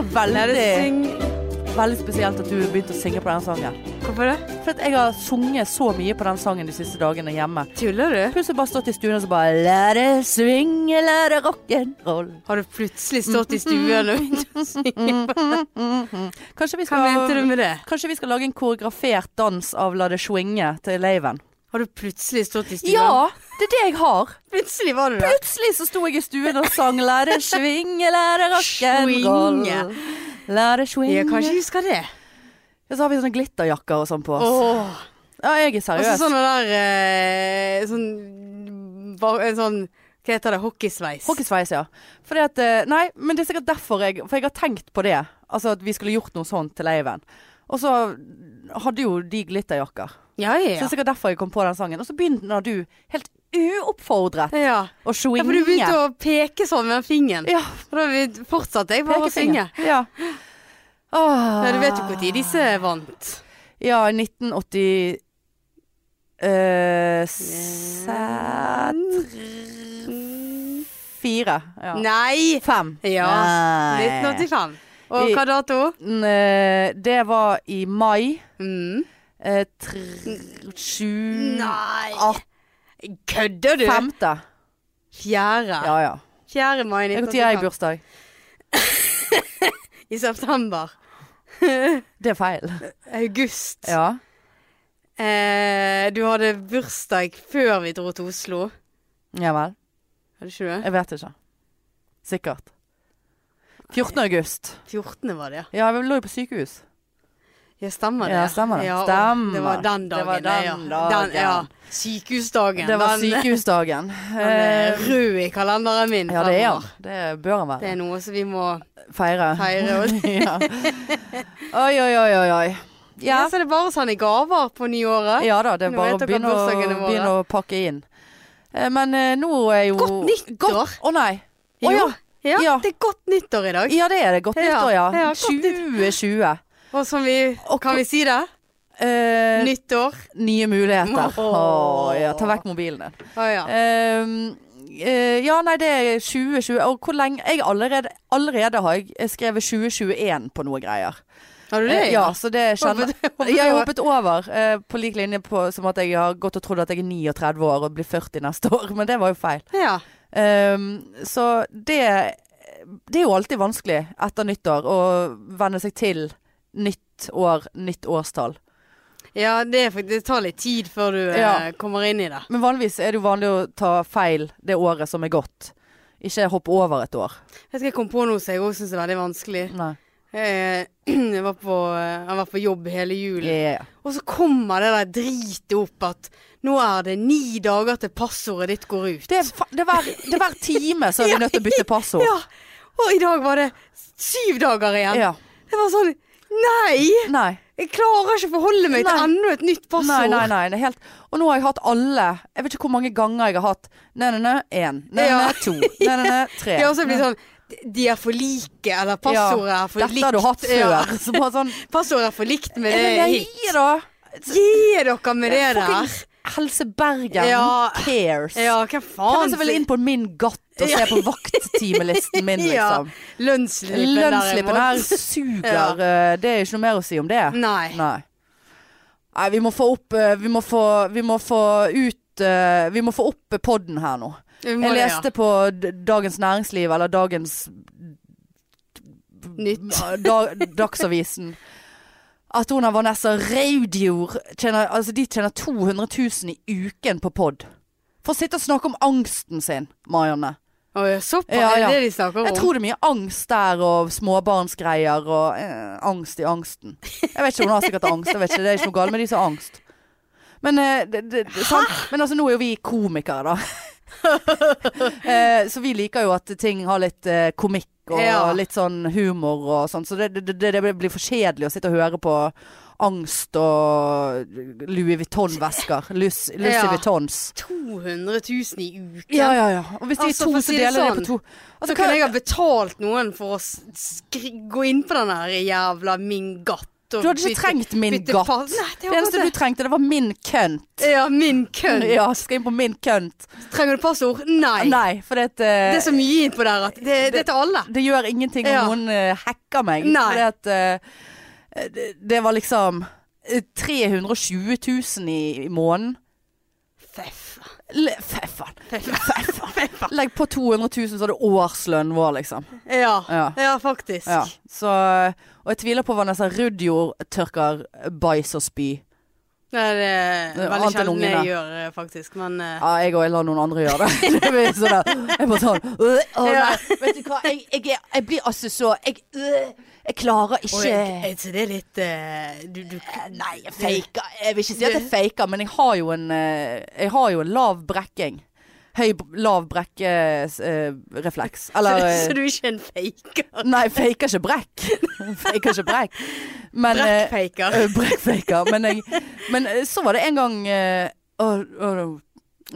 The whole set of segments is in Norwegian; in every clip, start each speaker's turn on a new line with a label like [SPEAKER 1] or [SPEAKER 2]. [SPEAKER 1] veldig,
[SPEAKER 2] Syng.
[SPEAKER 1] veldig spesielt at du begynte å synge på den sangen.
[SPEAKER 2] Hvorfor det?
[SPEAKER 1] For at jeg har sunget så mye på den sangen de siste dagene hjemme.
[SPEAKER 2] Tuller du?
[SPEAKER 1] Plutselig bare stått i stuen og så bare La det svinge, la det rock'n'roll.
[SPEAKER 2] Har du plutselig stått i stuen og begynt å synge? på-
[SPEAKER 1] Mhm. Kanskje vi
[SPEAKER 2] Hva
[SPEAKER 1] skal
[SPEAKER 2] mente du med det?
[SPEAKER 1] Kanskje vi skal lage en koreografert dans av La det swinge til Laven?
[SPEAKER 2] Har du plutselig stått i stuen?
[SPEAKER 1] Ja, det er det jeg har.
[SPEAKER 2] Plutselig var du det.
[SPEAKER 1] Plutselig så sto jeg i stuen og sang La det swinge, la det rock'n'roll.
[SPEAKER 2] Swinge.
[SPEAKER 1] La det swinge.
[SPEAKER 2] Jeg kan ikke huske det.
[SPEAKER 1] Og så har vi sånne glitterjakker og sånn på oss.
[SPEAKER 2] Åh. Altså, sånn
[SPEAKER 1] Ja, jeg er
[SPEAKER 2] Og så
[SPEAKER 1] seriøs.
[SPEAKER 2] sånne der eh, Sånn ba- en sånn Hva heter det? Hockeysveis.
[SPEAKER 1] Hockeysveis, ja. Fordi at, eh, nei, men det er sikkert derfor jeg For jeg har tenkt på det. Altså at vi skulle gjort noe sånt til Laven. Og så hadde jo de glitterjakker.
[SPEAKER 2] Ja, ja,
[SPEAKER 1] Så det
[SPEAKER 2] ja.
[SPEAKER 1] er sikkert derfor jeg kom på den sangen. Og så begynner du helt uoppfordret
[SPEAKER 2] ja.
[SPEAKER 1] å
[SPEAKER 2] Ja,
[SPEAKER 1] swinge.
[SPEAKER 2] for du begynte å peke sånn med den fingeren.
[SPEAKER 1] Ja,
[SPEAKER 2] Og da vi- fortsatte jeg bare å synge.
[SPEAKER 1] pekefinger. Ja. Åh.
[SPEAKER 2] Ja, du vet jo når disse vant.
[SPEAKER 1] Ja, 1980 eh, set- Fire. Ja.
[SPEAKER 2] Nei!
[SPEAKER 1] Fem.
[SPEAKER 2] Ja.
[SPEAKER 1] Nei.
[SPEAKER 2] 1985. Og
[SPEAKER 1] I-
[SPEAKER 2] hva dato?
[SPEAKER 1] Mm, eh, Det var i mai.
[SPEAKER 2] Mm.
[SPEAKER 1] eh, tr- Sju
[SPEAKER 2] Nei!
[SPEAKER 1] At-
[SPEAKER 2] Kødder du?
[SPEAKER 1] Femte.
[SPEAKER 2] Fjerde.
[SPEAKER 1] Ja ja.
[SPEAKER 2] 4. mai
[SPEAKER 1] Jeg- Når har jeg
[SPEAKER 2] 1985.
[SPEAKER 1] bursdag?
[SPEAKER 2] I september.
[SPEAKER 1] Det er feil.
[SPEAKER 2] August.
[SPEAKER 1] Ja.
[SPEAKER 2] Eh, du hadde bursdag før vi dro til Oslo.
[SPEAKER 1] Ja vel.
[SPEAKER 2] Hadde ikke du det?
[SPEAKER 1] Jeg vet ikke. Sikkert. 14. august.
[SPEAKER 2] 14. var det, ja.
[SPEAKER 1] Ja, jeg lå jo på sykehus.
[SPEAKER 2] Ja, stemmer det.
[SPEAKER 1] Ja, stemmer det.
[SPEAKER 2] Ja, og
[SPEAKER 1] Stemmer.
[SPEAKER 2] Det var den dagen,
[SPEAKER 1] Det var den
[SPEAKER 2] ja.
[SPEAKER 1] dagen.
[SPEAKER 2] Den, ja. Sykehusdagen.
[SPEAKER 1] Det var
[SPEAKER 2] den,
[SPEAKER 1] sykehusdagen.
[SPEAKER 2] den er
[SPEAKER 1] Eh,
[SPEAKER 2] rød i kalenderen min.
[SPEAKER 1] Ja, det er han.
[SPEAKER 2] fremover.
[SPEAKER 1] Det bør han
[SPEAKER 2] Det
[SPEAKER 1] være.
[SPEAKER 2] er noe som vi må
[SPEAKER 1] Feire.
[SPEAKER 2] feire. Og
[SPEAKER 1] ja. Oi, oi, oi, oi, oi.
[SPEAKER 2] Ja,
[SPEAKER 1] Ja.
[SPEAKER 2] så er det bare å sende gaver på nyåret.
[SPEAKER 1] ja da, det er
[SPEAKER 2] Nå
[SPEAKER 1] bare å
[SPEAKER 2] vet dere
[SPEAKER 1] begynne, å
[SPEAKER 2] bursdagene våre.
[SPEAKER 1] begynne å pakke inn. Eh, Men eh, nå er jo
[SPEAKER 2] Godt nyttår!
[SPEAKER 1] Å nei. Å ja.
[SPEAKER 2] Jo. Ja,
[SPEAKER 1] Ja.
[SPEAKER 2] det er godt nyttår i dag.
[SPEAKER 1] ja, det er det. Godt
[SPEAKER 2] Ja,
[SPEAKER 1] nyttår, ja.
[SPEAKER 2] ja, godt
[SPEAKER 1] 2020.
[SPEAKER 2] Og som vi
[SPEAKER 1] Og
[SPEAKER 2] Kan vi si det?
[SPEAKER 1] Eh,
[SPEAKER 2] Nyttår.
[SPEAKER 1] nye muligheter.
[SPEAKER 2] Åh.
[SPEAKER 1] Åh, ja, ta vekk mobilen din.
[SPEAKER 2] Å ja.
[SPEAKER 1] Eh, eh, ja, nei, det er 2020. Og hvor lenge Jeg allerede, allerede har jeg skrevet 2021 på noe greier.
[SPEAKER 2] Har du det?
[SPEAKER 1] Eh, Ja, så det kjenner
[SPEAKER 2] Håpet- håpet
[SPEAKER 1] Jeg har
[SPEAKER 2] over.
[SPEAKER 1] hoppet over, eh, på lik linje på, som at jeg har gått og trodd at jeg er 39 år og blir 40 neste år, men det var jo feil.
[SPEAKER 2] Ja.
[SPEAKER 1] Ehm, så det Det er jo alltid vanskelig etter nyttår å venne seg til nytt år, nytt årstall.
[SPEAKER 2] ja det, er, fakt- det tar litt tid før du eh,
[SPEAKER 1] Ja.
[SPEAKER 2] kommer inn i det.
[SPEAKER 1] Men vanligvis er det jo vanlig å ta feil det året som er gått. Ikke hoppe over et år.
[SPEAKER 2] Jeg skal komme på noe som jeg òg syns er veldig vanskelig.
[SPEAKER 1] Nei.
[SPEAKER 2] Eh, Jeg var på, eh, jeg var på jobb hele julen.
[SPEAKER 1] Yeah.
[SPEAKER 2] Og så kommer det der dritet opp at nå er det ni dager til passordet ditt går ut.
[SPEAKER 1] Det, er, fa- det, er hver, det er hver time så er vi nødt til å bytte passord.
[SPEAKER 2] Ja. Og i dag var det syv dager igjen.
[SPEAKER 1] Ja.
[SPEAKER 2] Det var sånn Nei!
[SPEAKER 1] Nei.
[SPEAKER 2] Jeg klarer ikke å forholde meg
[SPEAKER 1] Nei.
[SPEAKER 2] til enda et nytt
[SPEAKER 1] Nei,
[SPEAKER 2] passord.
[SPEAKER 1] nei, nei. Det er helt... Og nå har jeg hatt alle Jeg vet ikke hvor mange ganger jeg har hatt Nei, nei, nei, én. Nei, nei,
[SPEAKER 2] Ja.
[SPEAKER 1] nei, to. Nei, nei, nei, tre.
[SPEAKER 2] Det er også blitt sånn De er for like, eller passordet er for likt.
[SPEAKER 1] Dette har du hatt før.
[SPEAKER 2] Ja,
[SPEAKER 1] Så bare sånn
[SPEAKER 2] passordet er for likt med
[SPEAKER 1] Er
[SPEAKER 2] det
[SPEAKER 1] det
[SPEAKER 2] hit.
[SPEAKER 1] leie, da?
[SPEAKER 2] Gi dere med det der.
[SPEAKER 1] Fuckings Helse Bergen.
[SPEAKER 2] Ja.
[SPEAKER 1] Who cares?
[SPEAKER 2] Ja,
[SPEAKER 1] Hvem
[SPEAKER 2] hva
[SPEAKER 1] er
[SPEAKER 2] faen?
[SPEAKER 1] det som vil inn på min gatt og se på vakttimelisten min, liksom?
[SPEAKER 2] Lønnsslippen
[SPEAKER 1] Lønnsslippen
[SPEAKER 2] derimot.
[SPEAKER 1] her suger. eh, Det er ikke noe mer å si om det.
[SPEAKER 2] Nei.
[SPEAKER 1] Nei. Nei, vi må få opp eh, Vi må få, vi må få ut eh, Vi må få opp podden her nå.
[SPEAKER 2] Vi må
[SPEAKER 1] Jeg
[SPEAKER 2] det, ja.
[SPEAKER 1] leste på D- Dagens Næringsliv, eller Dagens
[SPEAKER 2] Nytt.
[SPEAKER 1] da, Dagsavisen, at hun og Vanessa Reudjord tjener, altså de tjener 200 000 i uken på pod. For å sitte og snakke om angsten sin, Marianne.
[SPEAKER 2] Å, ja, såpass?
[SPEAKER 1] Ja, ja.
[SPEAKER 2] Er det det de snakker om?
[SPEAKER 1] Jeg tror det er mye angst der, og småbarnsgreier, og eh, angst i angsten. Jeg vet ikke, hun har sikkert angst, jeg vet ikke, det er ikke noe galt med de som har angst. Men, eh, det, det, det, sant? Men altså, nå er jo vi komikere, da. eh, så vi liker jo at ting har litt eh, komikk og
[SPEAKER 2] Ja.
[SPEAKER 1] litt sånn humor og sånn, så det, det, det, det blir for kjedelig å sitte og høre på angst og Louis Vuitton-vesker. Lus, Louis
[SPEAKER 2] Ja.
[SPEAKER 1] Vuittons.
[SPEAKER 2] 200 000 i uken.
[SPEAKER 1] Ja, ja, ja. Og hvis de er
[SPEAKER 2] Altså, for
[SPEAKER 1] to,
[SPEAKER 2] å
[SPEAKER 1] så
[SPEAKER 2] si det
[SPEAKER 1] deler de på
[SPEAKER 2] sånn,
[SPEAKER 1] to. Altså,
[SPEAKER 2] så kunne
[SPEAKER 1] hva-
[SPEAKER 2] jeg ha betalt noen for å s- skri- gå inn på den der jævla min gatt. gått og
[SPEAKER 1] Du hadde ikke trengt min
[SPEAKER 2] bytte
[SPEAKER 1] gatt.
[SPEAKER 2] pass. Nei, det
[SPEAKER 1] Det
[SPEAKER 2] var
[SPEAKER 1] eneste
[SPEAKER 2] godt
[SPEAKER 1] du trengte, det var min kønt.
[SPEAKER 2] det. Ja, min kønn.
[SPEAKER 1] Ja, skal inn på min kønt.
[SPEAKER 2] Trenger du passord? Nei.
[SPEAKER 1] Nei, for det, at, eh,
[SPEAKER 2] Det er så mye innpå der at det, det er til alle.
[SPEAKER 1] det gjør ingenting om
[SPEAKER 2] Ja.
[SPEAKER 1] noen eh, hacker meg.
[SPEAKER 2] Nei.
[SPEAKER 1] Fordi at eh, det, det var liksom eh, 320 000 i, i måneden.
[SPEAKER 2] Feffa.
[SPEAKER 1] Le- Fy faen.
[SPEAKER 2] Feffa. Feffa.
[SPEAKER 1] Legg på 200 000, så er det årslønnen vår, liksom.
[SPEAKER 2] Ja.
[SPEAKER 1] Ja.
[SPEAKER 2] ja, faktisk.
[SPEAKER 1] Ja, så, eh, og jeg tviler på Vanessa Rudjord tørker bæsj og spy.
[SPEAKER 2] Nei, det
[SPEAKER 1] Det er
[SPEAKER 2] er veldig
[SPEAKER 1] annet enn
[SPEAKER 2] sjelden
[SPEAKER 1] ungene.
[SPEAKER 2] jeg gjør, eh, faktisk. Men eh,
[SPEAKER 1] Ja, jeg og jeg lar noen andre gjøre det. det blir sånn der, jeg bare sånn øh, å,
[SPEAKER 2] Ja.
[SPEAKER 1] nei. Vet du hva, jeg, jeg, er- jeg blir altså så Jeg, øh, jeg klarer
[SPEAKER 2] og
[SPEAKER 1] ikke
[SPEAKER 2] jeg, jeg, så det er litt eh, du, du,
[SPEAKER 1] Nei, jeg faker. Jeg vil ikke si at jeg faker, men jeg har jo en, eh, jeg har jo en lav brekking. Høy, b- lav brekkerefleks.
[SPEAKER 2] så,
[SPEAKER 1] Eller
[SPEAKER 2] du,
[SPEAKER 1] eh,
[SPEAKER 2] så du er ikke en faker?
[SPEAKER 1] Nei, jeg faker ikke brekk. Faker ikke brekk. Men eh,
[SPEAKER 2] Brekkfaker.
[SPEAKER 1] eh, Brekkfaker. Men, jeg, men eh, så var det en gang eh, å- å-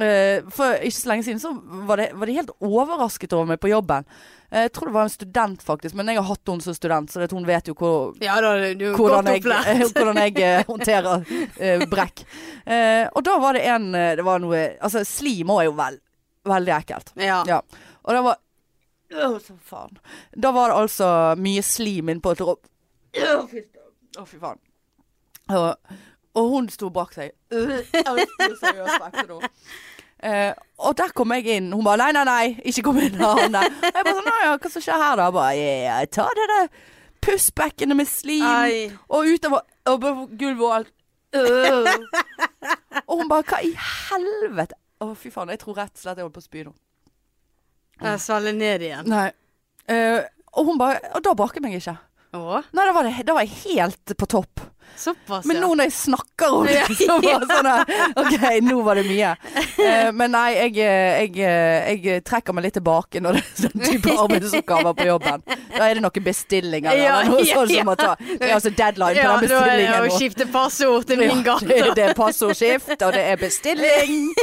[SPEAKER 1] eh, For ikke så lenge siden så var, det, var de helt overrasket over meg på jobben. Eh, jeg tror det var en student, faktisk. Men jeg har hatt henne som student, så det, at hun vet jo hvor
[SPEAKER 2] Ja da, du- du er
[SPEAKER 1] hvordan
[SPEAKER 2] godt
[SPEAKER 1] jeg,
[SPEAKER 2] opplært.
[SPEAKER 1] hvordan jeg eh, håndterer eh, brekk. Eh, og da var det en eh, Det var noe Altså, slim òg er jo vel, veldig ekkelt.
[SPEAKER 2] Ja.
[SPEAKER 1] Ja. Og det var Åh, så faen. Da var det altså mye slim innpå et rom. Åh, fy faen. Å, fy faen. Og, og hun sto bak seg. Øh, jeg vet ikke, seriøst, på ekte nå. Eh, og der kom jeg inn. Hun bare 'nei, nei, nei, ikke kom inn'. her, Nei. Og jeg bare sånn 'Å ja, hva som skjer her', da? Jeg bare «Ja, 'Ta det der pussbackenet med slim'.
[SPEAKER 2] Ai.
[SPEAKER 1] Og utover og på gulvet og alt. Øh. og hun bare 'hva i helvete'? Å, fy faen. Jeg tror rett og slett jeg holdt på å spy nå.
[SPEAKER 2] Jeg svelger ned igjen.
[SPEAKER 1] Nei. Eh, og hun bare Og da brakk jeg meg ikke.
[SPEAKER 2] Å,
[SPEAKER 1] Nei, da var, det, da var jeg helt på topp.
[SPEAKER 2] såpass,
[SPEAKER 1] Men
[SPEAKER 2] ja.
[SPEAKER 1] nå når jeg snakker om det, så var det sånn her OK, nå var det mye. Eh, men nei, jeg, eh, jeg, eh, jeg trekker meg litt tilbake når det er sånn type arbeidsoppgaver på jobben. Da er det noen bestillinger
[SPEAKER 2] Ja,
[SPEAKER 1] eller noe
[SPEAKER 2] ja,
[SPEAKER 1] sånt som må ta. Det er altså deadline på den
[SPEAKER 2] ja, da er det
[SPEAKER 1] bestillingen
[SPEAKER 2] å
[SPEAKER 1] nå.
[SPEAKER 2] skifte passord til min
[SPEAKER 1] Ja, det,
[SPEAKER 2] gate.
[SPEAKER 1] det er passordskift, og det er bestilling.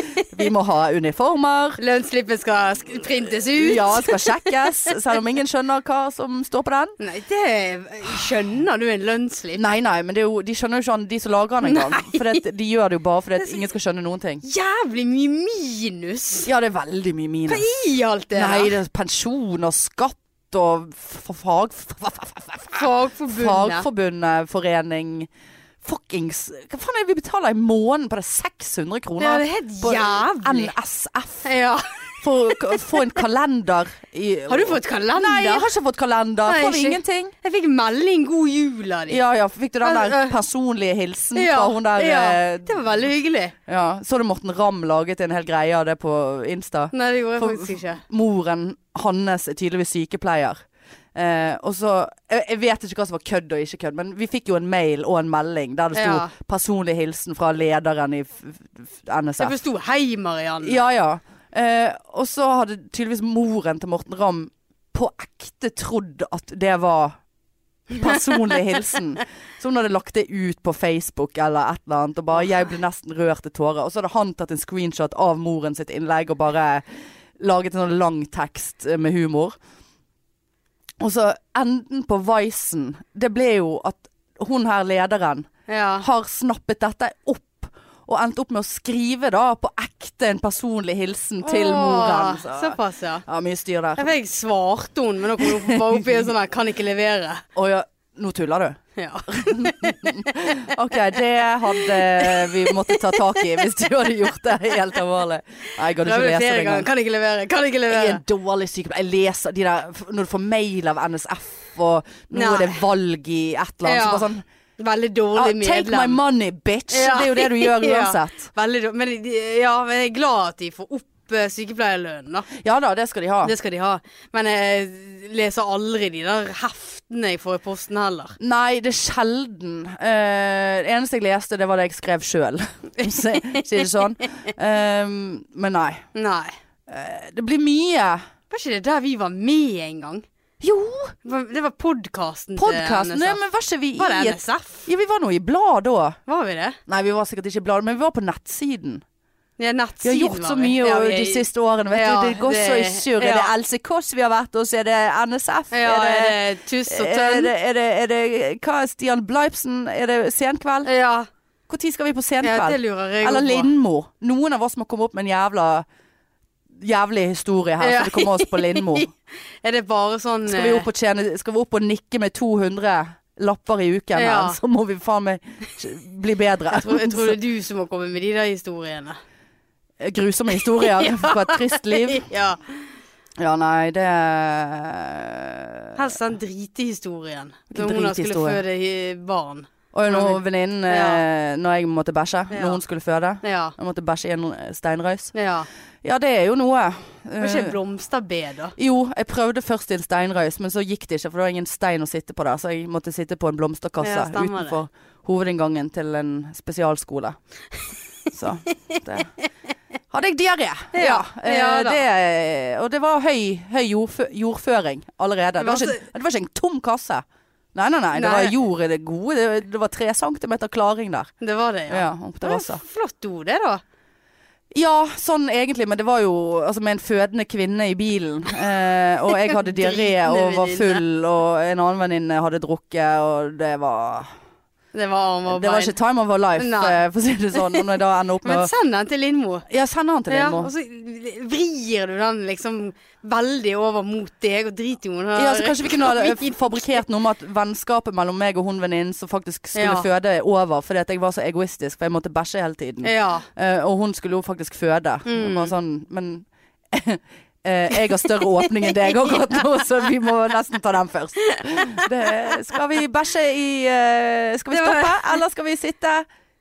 [SPEAKER 1] Vi må ha uniformer.
[SPEAKER 2] Lønnsslippen skal sk- printes ut.
[SPEAKER 1] Ja, skal sjekkes, selv om ingen skjønner hva som står på den.
[SPEAKER 2] Nei, det skjønner du en lønnsslipp.
[SPEAKER 1] Nei, nei, men det er jo, de skjønner jo ikke han, de som lager han engang.
[SPEAKER 2] Nei.
[SPEAKER 1] For det, de gjør det jo bare fordi at ingen skal skjønne noen ting.
[SPEAKER 2] Jævlig mye minus
[SPEAKER 1] Ja, det er veldig mye
[SPEAKER 2] Hva
[SPEAKER 1] minus.
[SPEAKER 2] i alt det
[SPEAKER 1] Nei,
[SPEAKER 2] der.
[SPEAKER 1] det er pensjon og skatt og f- f- fag... f- f- f- f- f-
[SPEAKER 2] Fagforbundet.
[SPEAKER 1] Fagforbundet, forening Fuckings Hva faen er det vi betaler i måneden på det? 600 kroner?
[SPEAKER 2] Ja, det er helt
[SPEAKER 1] på
[SPEAKER 2] jævlig.
[SPEAKER 1] NSF.
[SPEAKER 2] Ja.
[SPEAKER 1] For å k- få en kalender i
[SPEAKER 2] Har du fått kalender?
[SPEAKER 1] Nei, jeg har ikke fått kalender.
[SPEAKER 2] Nei,
[SPEAKER 1] Får vi
[SPEAKER 2] ikke.
[SPEAKER 1] ingenting?
[SPEAKER 2] Jeg fikk melding god jul av dem.
[SPEAKER 1] Ja ja, fikk du den
[SPEAKER 2] Eh,
[SPEAKER 1] der
[SPEAKER 2] eh.
[SPEAKER 1] personlige hilsen fra hun der eh,
[SPEAKER 2] Det var veldig hyggelig.
[SPEAKER 1] Ja, Så du Morten Ramm laget en hel greie av det på Insta?
[SPEAKER 2] Nei, det gjorde jeg
[SPEAKER 1] For-
[SPEAKER 2] faktisk ikke.
[SPEAKER 1] Moren hans er tydeligvis sykepleier. Eh, og så jeg, jeg vet ikke hva som var kødd og ikke kødd, men vi fikk jo en mail og en melding der det sto
[SPEAKER 2] Ja.
[SPEAKER 1] 'personlig hilsen fra lederen i f f
[SPEAKER 2] Jeg
[SPEAKER 1] NSF'.
[SPEAKER 2] forsto hei, Marianne.
[SPEAKER 1] Ja ja. Eh, og så hadde tydeligvis moren til Morten Ramm på ekte trodd at det var personlig hilsen. Så hun hadde lagt det ut på Facebook eller et eller annet, og bare 'jeg ble nesten rørt til tårer'. Og så hadde han tatt en screenshot av moren sitt innlegg og bare laget en sånn lang tekst eh, med humor. Og så enden på vicen, det ble jo at hun her lederen
[SPEAKER 2] Ja.
[SPEAKER 1] har snappet dette opp og endt opp med å skrive da på ekte en personlig hilsen til
[SPEAKER 2] Åh,
[SPEAKER 1] moren. altså. Så.
[SPEAKER 2] Såpass, ja.
[SPEAKER 1] Ja, mye styr
[SPEAKER 2] Jeg
[SPEAKER 1] der.
[SPEAKER 2] fikk svarte hun, men nå kom hun bare opp i en sånn her 'kan ikke levere'.
[SPEAKER 1] Å ja, nå tuller du?
[SPEAKER 2] Ja.
[SPEAKER 1] OK, det hadde vi måttet ta tak i hvis du hadde gjort det helt alvorlig. Nei, jeg gadd ikke
[SPEAKER 2] Prøvde
[SPEAKER 1] lese
[SPEAKER 2] flere
[SPEAKER 1] det
[SPEAKER 2] ganger.
[SPEAKER 1] engang.
[SPEAKER 2] Kan ikke levere, kan ikke
[SPEAKER 1] Jeg er
[SPEAKER 2] levere.
[SPEAKER 1] en dårlig sykepleier. Jeg leser de der f- Når du får mail av NSF, og nå
[SPEAKER 2] Nei.
[SPEAKER 1] er det valg i et eller annet.
[SPEAKER 2] Ja.
[SPEAKER 1] Så bare sånn
[SPEAKER 2] Veldig
[SPEAKER 1] ah,
[SPEAKER 2] dårlig
[SPEAKER 1] Take my
[SPEAKER 2] medlem.
[SPEAKER 1] money, bitch!
[SPEAKER 2] Ja.
[SPEAKER 1] Det er jo det du gjør
[SPEAKER 2] Ja.
[SPEAKER 1] uansett.
[SPEAKER 2] Veldig dårlig. Men de- ja, men jeg er glad at de får opp eh, sykepleierlønnen, da.
[SPEAKER 1] Ja da, det skal de ha.
[SPEAKER 2] Det skal de ha. Men jeg leser aldri de der heftene jeg får i posten heller.
[SPEAKER 1] Nei, det er sjelden. Eh, det eneste jeg leste, det var det jeg skrev sjøl. Si si det sånn. Ehm, men nei.
[SPEAKER 2] Nei.
[SPEAKER 1] Det blir mye.
[SPEAKER 2] Var ikke det der vi var med en gang?
[SPEAKER 1] Jo,
[SPEAKER 2] Det var podkasten til
[SPEAKER 1] podkasten. Nei,
[SPEAKER 2] NSF.
[SPEAKER 1] Men var ikke vi
[SPEAKER 2] Var
[SPEAKER 1] i
[SPEAKER 2] det
[SPEAKER 1] et
[SPEAKER 2] NSF?
[SPEAKER 1] Ja, vi var nå i blad da.
[SPEAKER 2] Var vi det?
[SPEAKER 1] Nei, vi var sikkert ikke i blad, men vi var på nettsiden.
[SPEAKER 2] Ja,
[SPEAKER 1] Vi har gjort så mye
[SPEAKER 2] ja,
[SPEAKER 1] og-
[SPEAKER 2] vi er-
[SPEAKER 1] de siste årene. Vet
[SPEAKER 2] Ja,
[SPEAKER 1] du. Det går
[SPEAKER 2] det-
[SPEAKER 1] så i surr. Er det
[SPEAKER 2] ja.
[SPEAKER 1] Else Kåss vi har vært hos? Er det NSF?
[SPEAKER 2] Ja,
[SPEAKER 1] er, det,
[SPEAKER 2] er det tuss og
[SPEAKER 1] er,
[SPEAKER 2] tønn?
[SPEAKER 1] det, er, det, er det Hva er Stian Bleipsen? Er det Senkveld?
[SPEAKER 2] Ja,
[SPEAKER 1] Når skal vi på
[SPEAKER 2] ja, det
[SPEAKER 1] Senkveld?
[SPEAKER 2] lurer jeg
[SPEAKER 1] Eller
[SPEAKER 2] også på.
[SPEAKER 1] Lindmo. Noen av oss må komme opp med en jævla jævlig historie her,
[SPEAKER 2] Ja.
[SPEAKER 1] så det kommer oss på Lindmo.
[SPEAKER 2] Er det bare sånn
[SPEAKER 1] Skal vi opp og, tjene, skal vi opp og nikke med 200 lapper i uken, her,
[SPEAKER 2] Ja.
[SPEAKER 1] så må vi faen meg bli bedre.
[SPEAKER 2] Jeg tror, jeg tror det er du som må komme med de der historiene.
[SPEAKER 1] Grusomme historier fra et trist liv.
[SPEAKER 2] Ja.
[SPEAKER 1] Ja, nei, det
[SPEAKER 2] Helst den dritehistorien. Når
[SPEAKER 1] Drithistorie.
[SPEAKER 2] hun da skulle føde i- barn.
[SPEAKER 1] Og når venninnen eh, Når jeg måtte bæsje,
[SPEAKER 2] Ja.
[SPEAKER 1] når hun skulle føde.
[SPEAKER 2] Ja.
[SPEAKER 1] Jeg måtte bæsje i en steinrøys.
[SPEAKER 2] ja.
[SPEAKER 1] Ja, det er jo noe.
[SPEAKER 2] Var
[SPEAKER 1] Eh,
[SPEAKER 2] ikke blomsterbed, da?
[SPEAKER 1] Jo, jeg prøvde først i en steinrøys, men så gikk det ikke, for det var ingen stein å sitte på der. Så jeg måtte sitte på en blomsterkasse
[SPEAKER 2] Ja, stemmer det.
[SPEAKER 1] utenfor hovedinngangen til en spesialskole. Så det Hadde jeg diaré?
[SPEAKER 2] Ja,
[SPEAKER 1] eh,
[SPEAKER 2] ja da.
[SPEAKER 1] det, og det var høy, høy jordfø jordføring allerede. Det var,
[SPEAKER 2] Men
[SPEAKER 1] ikke, det var ikke en tom kasse. Nei, nei, nei. Det
[SPEAKER 2] Altså- Nei.
[SPEAKER 1] var jord i det gode. Det, det var tre centimeter klaring der.
[SPEAKER 2] Det var det, ja.
[SPEAKER 1] Ja, opp
[SPEAKER 2] det var
[SPEAKER 1] terrasser.
[SPEAKER 2] et flott do, det, da.
[SPEAKER 1] Ja, sånn egentlig, men det var jo altså, med en fødende kvinne i bilen. Eh, og jeg hadde diaré og var full, og en annen venninne hadde drukket, og det var
[SPEAKER 2] Det var armer og
[SPEAKER 1] Det var ikke
[SPEAKER 2] bein.
[SPEAKER 1] time of our life,
[SPEAKER 2] Nei.
[SPEAKER 1] eh, for å si det sånn. Og når jeg da ender opp med
[SPEAKER 2] Men
[SPEAKER 1] å
[SPEAKER 2] send den til Lindmo.
[SPEAKER 1] Ja, sender han til
[SPEAKER 2] Ja,
[SPEAKER 1] din
[SPEAKER 2] og
[SPEAKER 1] mor.
[SPEAKER 2] så vrir du den liksom veldig over mot deg og driter i om hun har
[SPEAKER 1] Ja, så kanskje vi kunne ha eh,
[SPEAKER 2] gravid.
[SPEAKER 1] fabrikkert noe med at vennskapet mellom meg og hun venninnen som faktisk skulle
[SPEAKER 2] Ja.
[SPEAKER 1] føde, er over. Fordi at jeg var så egoistisk, for jeg måtte bæsje hele tiden.
[SPEAKER 2] Ja.
[SPEAKER 1] Eh, og hun skulle jo faktisk føde.
[SPEAKER 2] Mm.
[SPEAKER 1] Bare sånn, men eh, jeg har større åpning enn deg akkurat nå, så vi må nesten ta den først. Det, skal vi bæsje i eh, Skal vi
[SPEAKER 2] Det var-
[SPEAKER 1] stoppe, eller skal vi sitte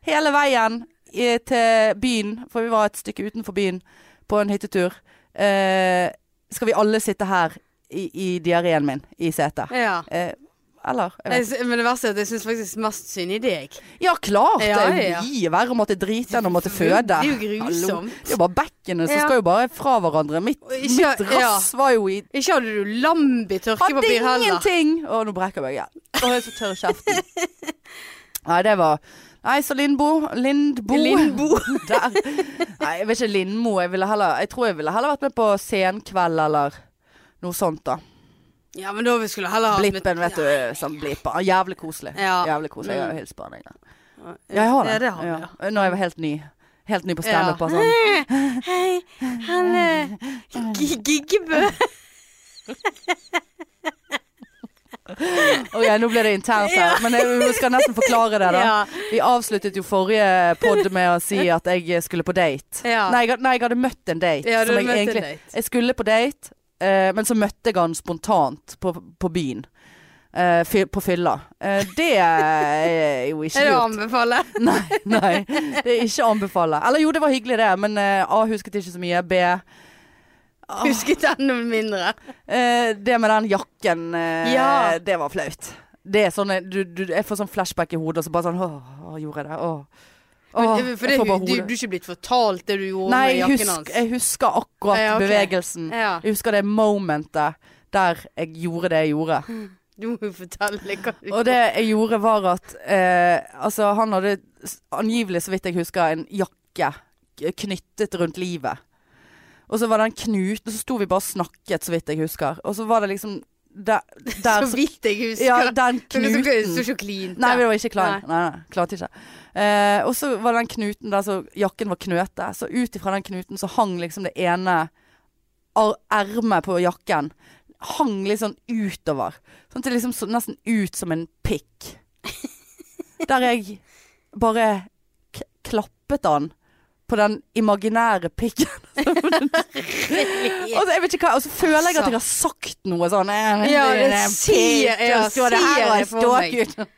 [SPEAKER 1] hele veien i, til byen, for vi var et stykke utenfor byen, på en hyttetur. Eh, skal vi alle sitte her i, i diareen min i setet?
[SPEAKER 2] ja.
[SPEAKER 1] Eh, eller? Jeg vet
[SPEAKER 2] Jeg, sy- men det verste er at jeg syns faktisk mest synd i deg.
[SPEAKER 1] Ja, klart!
[SPEAKER 2] Ja,
[SPEAKER 1] det
[SPEAKER 2] ja.
[SPEAKER 1] er mye verre å måtte drite enn å måtte
[SPEAKER 2] Det er jo-
[SPEAKER 1] føde.
[SPEAKER 2] det er jo grusomt.
[SPEAKER 1] Hallo. Det er jo bare bekkenet som
[SPEAKER 2] Ja.
[SPEAKER 1] skal jo bare fra hverandre. Mitt,
[SPEAKER 2] Og ikke-
[SPEAKER 1] mitt rass var jo i
[SPEAKER 2] Ikke hadde du
[SPEAKER 1] Hadde
[SPEAKER 2] Lambi-tørkepapir heller.
[SPEAKER 1] ingenting! Å, nå brekker jeg meg igjen. Å, jeg er så tørr i kjeften. Nei, det var Nei, så Lindbo Lindbo.
[SPEAKER 2] Lindbo.
[SPEAKER 1] Der. Nei, jeg vet ikke Lindmo. Jeg, ville heller, jeg tror jeg ville heller vært med på Senkveld eller noe sånt, da.
[SPEAKER 2] Ja, men da vi skulle heller hatt
[SPEAKER 1] Blippen, vet du. Som Blippen. Jævlig koselig.
[SPEAKER 2] Ja.
[SPEAKER 1] Jævlig koselig. Jeg har
[SPEAKER 2] Mm.
[SPEAKER 1] hilst på han, jeg. da. Ja, jeg har det.
[SPEAKER 2] Ja, det har vi,
[SPEAKER 1] Ja.
[SPEAKER 2] ja.
[SPEAKER 1] Når jeg var helt ny. Helt ny på
[SPEAKER 2] Ja.
[SPEAKER 1] standup. bare Sånn.
[SPEAKER 2] Hei, han eh, er Gi- Giggebø.
[SPEAKER 1] Å ja, nå ble det internt her, men jeg vi skal nesten forklare det. da
[SPEAKER 2] Ja.
[SPEAKER 1] Vi avsluttet jo forrige pod med å si at jeg skulle på date.
[SPEAKER 2] Ja.
[SPEAKER 1] Nei, jeg, had- nei, jeg hadde møtt en date.
[SPEAKER 2] Ja, du
[SPEAKER 1] som
[SPEAKER 2] har
[SPEAKER 1] jeg,
[SPEAKER 2] møtt en
[SPEAKER 1] egentlig,
[SPEAKER 2] date.
[SPEAKER 1] jeg skulle på date, eh, men så møtte jeg han spontant på, på byen. Eh, fy, på fylla. Eh, det er jo ikke
[SPEAKER 2] Er det å
[SPEAKER 1] lurt.
[SPEAKER 2] anbefale?
[SPEAKER 1] Nei, nei. Det er ikke å anbefale. Eller jo, det var hyggelig det, men eh, A husket ikke så mye. B Ah.
[SPEAKER 2] Husket den noe mindre.
[SPEAKER 1] Eh, det med den jakken, eh,
[SPEAKER 2] Ja.
[SPEAKER 1] det var flaut. Det er sånn, eh, du, du, jeg får sånn flashback i hodet, og så bare sånn Åh, åh, gjorde jeg det? Åh. Åh,
[SPEAKER 2] Men, eh, for
[SPEAKER 1] jeg
[SPEAKER 2] det,
[SPEAKER 1] får
[SPEAKER 2] du,
[SPEAKER 1] bare
[SPEAKER 2] du,
[SPEAKER 1] hodet.
[SPEAKER 2] er ikke blitt fortalt det du gjorde
[SPEAKER 1] Nei,
[SPEAKER 2] med
[SPEAKER 1] jeg
[SPEAKER 2] jakken
[SPEAKER 1] husker,
[SPEAKER 2] hans?
[SPEAKER 1] jeg husker akkurat
[SPEAKER 2] Ja, ok.
[SPEAKER 1] bevegelsen.
[SPEAKER 2] Ja.
[SPEAKER 1] Jeg husker det momentet der jeg gjorde det jeg gjorde.
[SPEAKER 2] Du må jo fortelle hva du
[SPEAKER 1] Og det jeg gjorde var at eh, Altså, han hadde s- angivelig, så vidt jeg husker, en jakke k- knyttet rundt livet. Og så var den knuten, så sto vi bare og snakket, så vidt jeg husker. Og så var det liksom der, der
[SPEAKER 2] Så vidt jeg husker. liksom
[SPEAKER 1] Ja, den
[SPEAKER 2] Knuten. Du
[SPEAKER 1] knuten.
[SPEAKER 2] sto ikke og klinte.
[SPEAKER 1] Nei, vi var ikke klar. Nei, nei, klarte ikke. Eh, og så var den knuten der så jakken var knøtet. Så ut ifra den knuten så hang liksom det ene ar- ermet på jakken Hang litt sånn utover. Sånn at det liksom så nesten ut som en pikk. Der jeg bare k klappet han på den imaginære pikken. Og så, jeg vet ikke hva, og så føler jeg at jeg har sagt noe sånn eh,
[SPEAKER 2] Altså. Ja,
[SPEAKER 1] du er
[SPEAKER 2] det
[SPEAKER 1] en
[SPEAKER 2] ser-
[SPEAKER 1] pikk, og
[SPEAKER 2] ja,
[SPEAKER 1] så står det her og
[SPEAKER 2] ser jeg
[SPEAKER 1] er
[SPEAKER 2] for meg.
[SPEAKER 1] ståkut.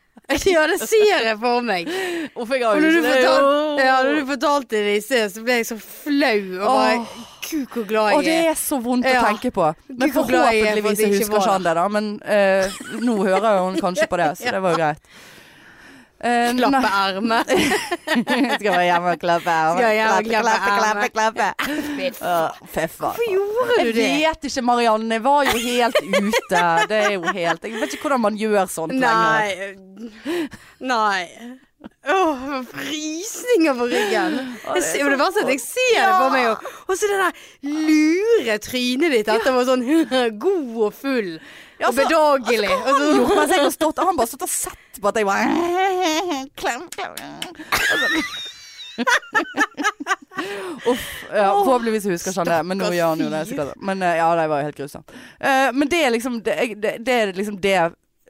[SPEAKER 2] ja, det ser jeg for meg.
[SPEAKER 1] Hvorfor jeg har
[SPEAKER 2] Og når du,
[SPEAKER 1] ikke det?
[SPEAKER 2] fortal, ja, når du fortalte det i sted, så ble jeg så flau. Og bare Gud, hvor glad
[SPEAKER 1] Å, det
[SPEAKER 2] jeg er.
[SPEAKER 1] er så vondt
[SPEAKER 2] Ja.
[SPEAKER 1] å tenke på. Men
[SPEAKER 2] Gud, hvor glad jeg er for at
[SPEAKER 1] forhåpentligvis
[SPEAKER 2] det ikke
[SPEAKER 1] husker
[SPEAKER 2] var
[SPEAKER 1] ikke han det, da. Men eh, nå hører jo hun kanskje på det, så det var jo greit. Eh,
[SPEAKER 2] Klappe ermet.
[SPEAKER 1] nei, skal være hjemme og klappe.
[SPEAKER 2] Skal jeg hjem og klappe
[SPEAKER 1] klappe,
[SPEAKER 2] armen?
[SPEAKER 1] klappe.
[SPEAKER 2] Hvorfor
[SPEAKER 1] Åh, Fy faen.
[SPEAKER 2] gjorde du
[SPEAKER 1] Jeg
[SPEAKER 2] det?
[SPEAKER 1] vet ikke, Marianne. Jeg var jo helt ute. Det er jo helt Jeg vet ikke hvordan man gjør sånt lenger.
[SPEAKER 2] Nei. Nei. Åh, jeg får frysninger på ryggen.
[SPEAKER 1] Å, det er
[SPEAKER 2] Jeg ser, jo,
[SPEAKER 1] så
[SPEAKER 2] det verste er sånn at jeg ser det på meg. Og, og så det der lure trynet ditt etterpå sånn god og full
[SPEAKER 1] Ja,
[SPEAKER 2] og
[SPEAKER 1] så-
[SPEAKER 2] bedagelig.
[SPEAKER 1] Hva
[SPEAKER 2] og
[SPEAKER 1] han
[SPEAKER 2] så-
[SPEAKER 1] gjort mens jeg har stått Og han bare stått og sett på at jeg bare Klem, klem Altså. Uff, ja, forhåpentligvis husker han det Men nå
[SPEAKER 2] stakkars
[SPEAKER 1] gjør han jo det sikkert Men eh, ja, det var jo helt grusomt Eh, Men det er liksom Det, jeg- det, det er liksom det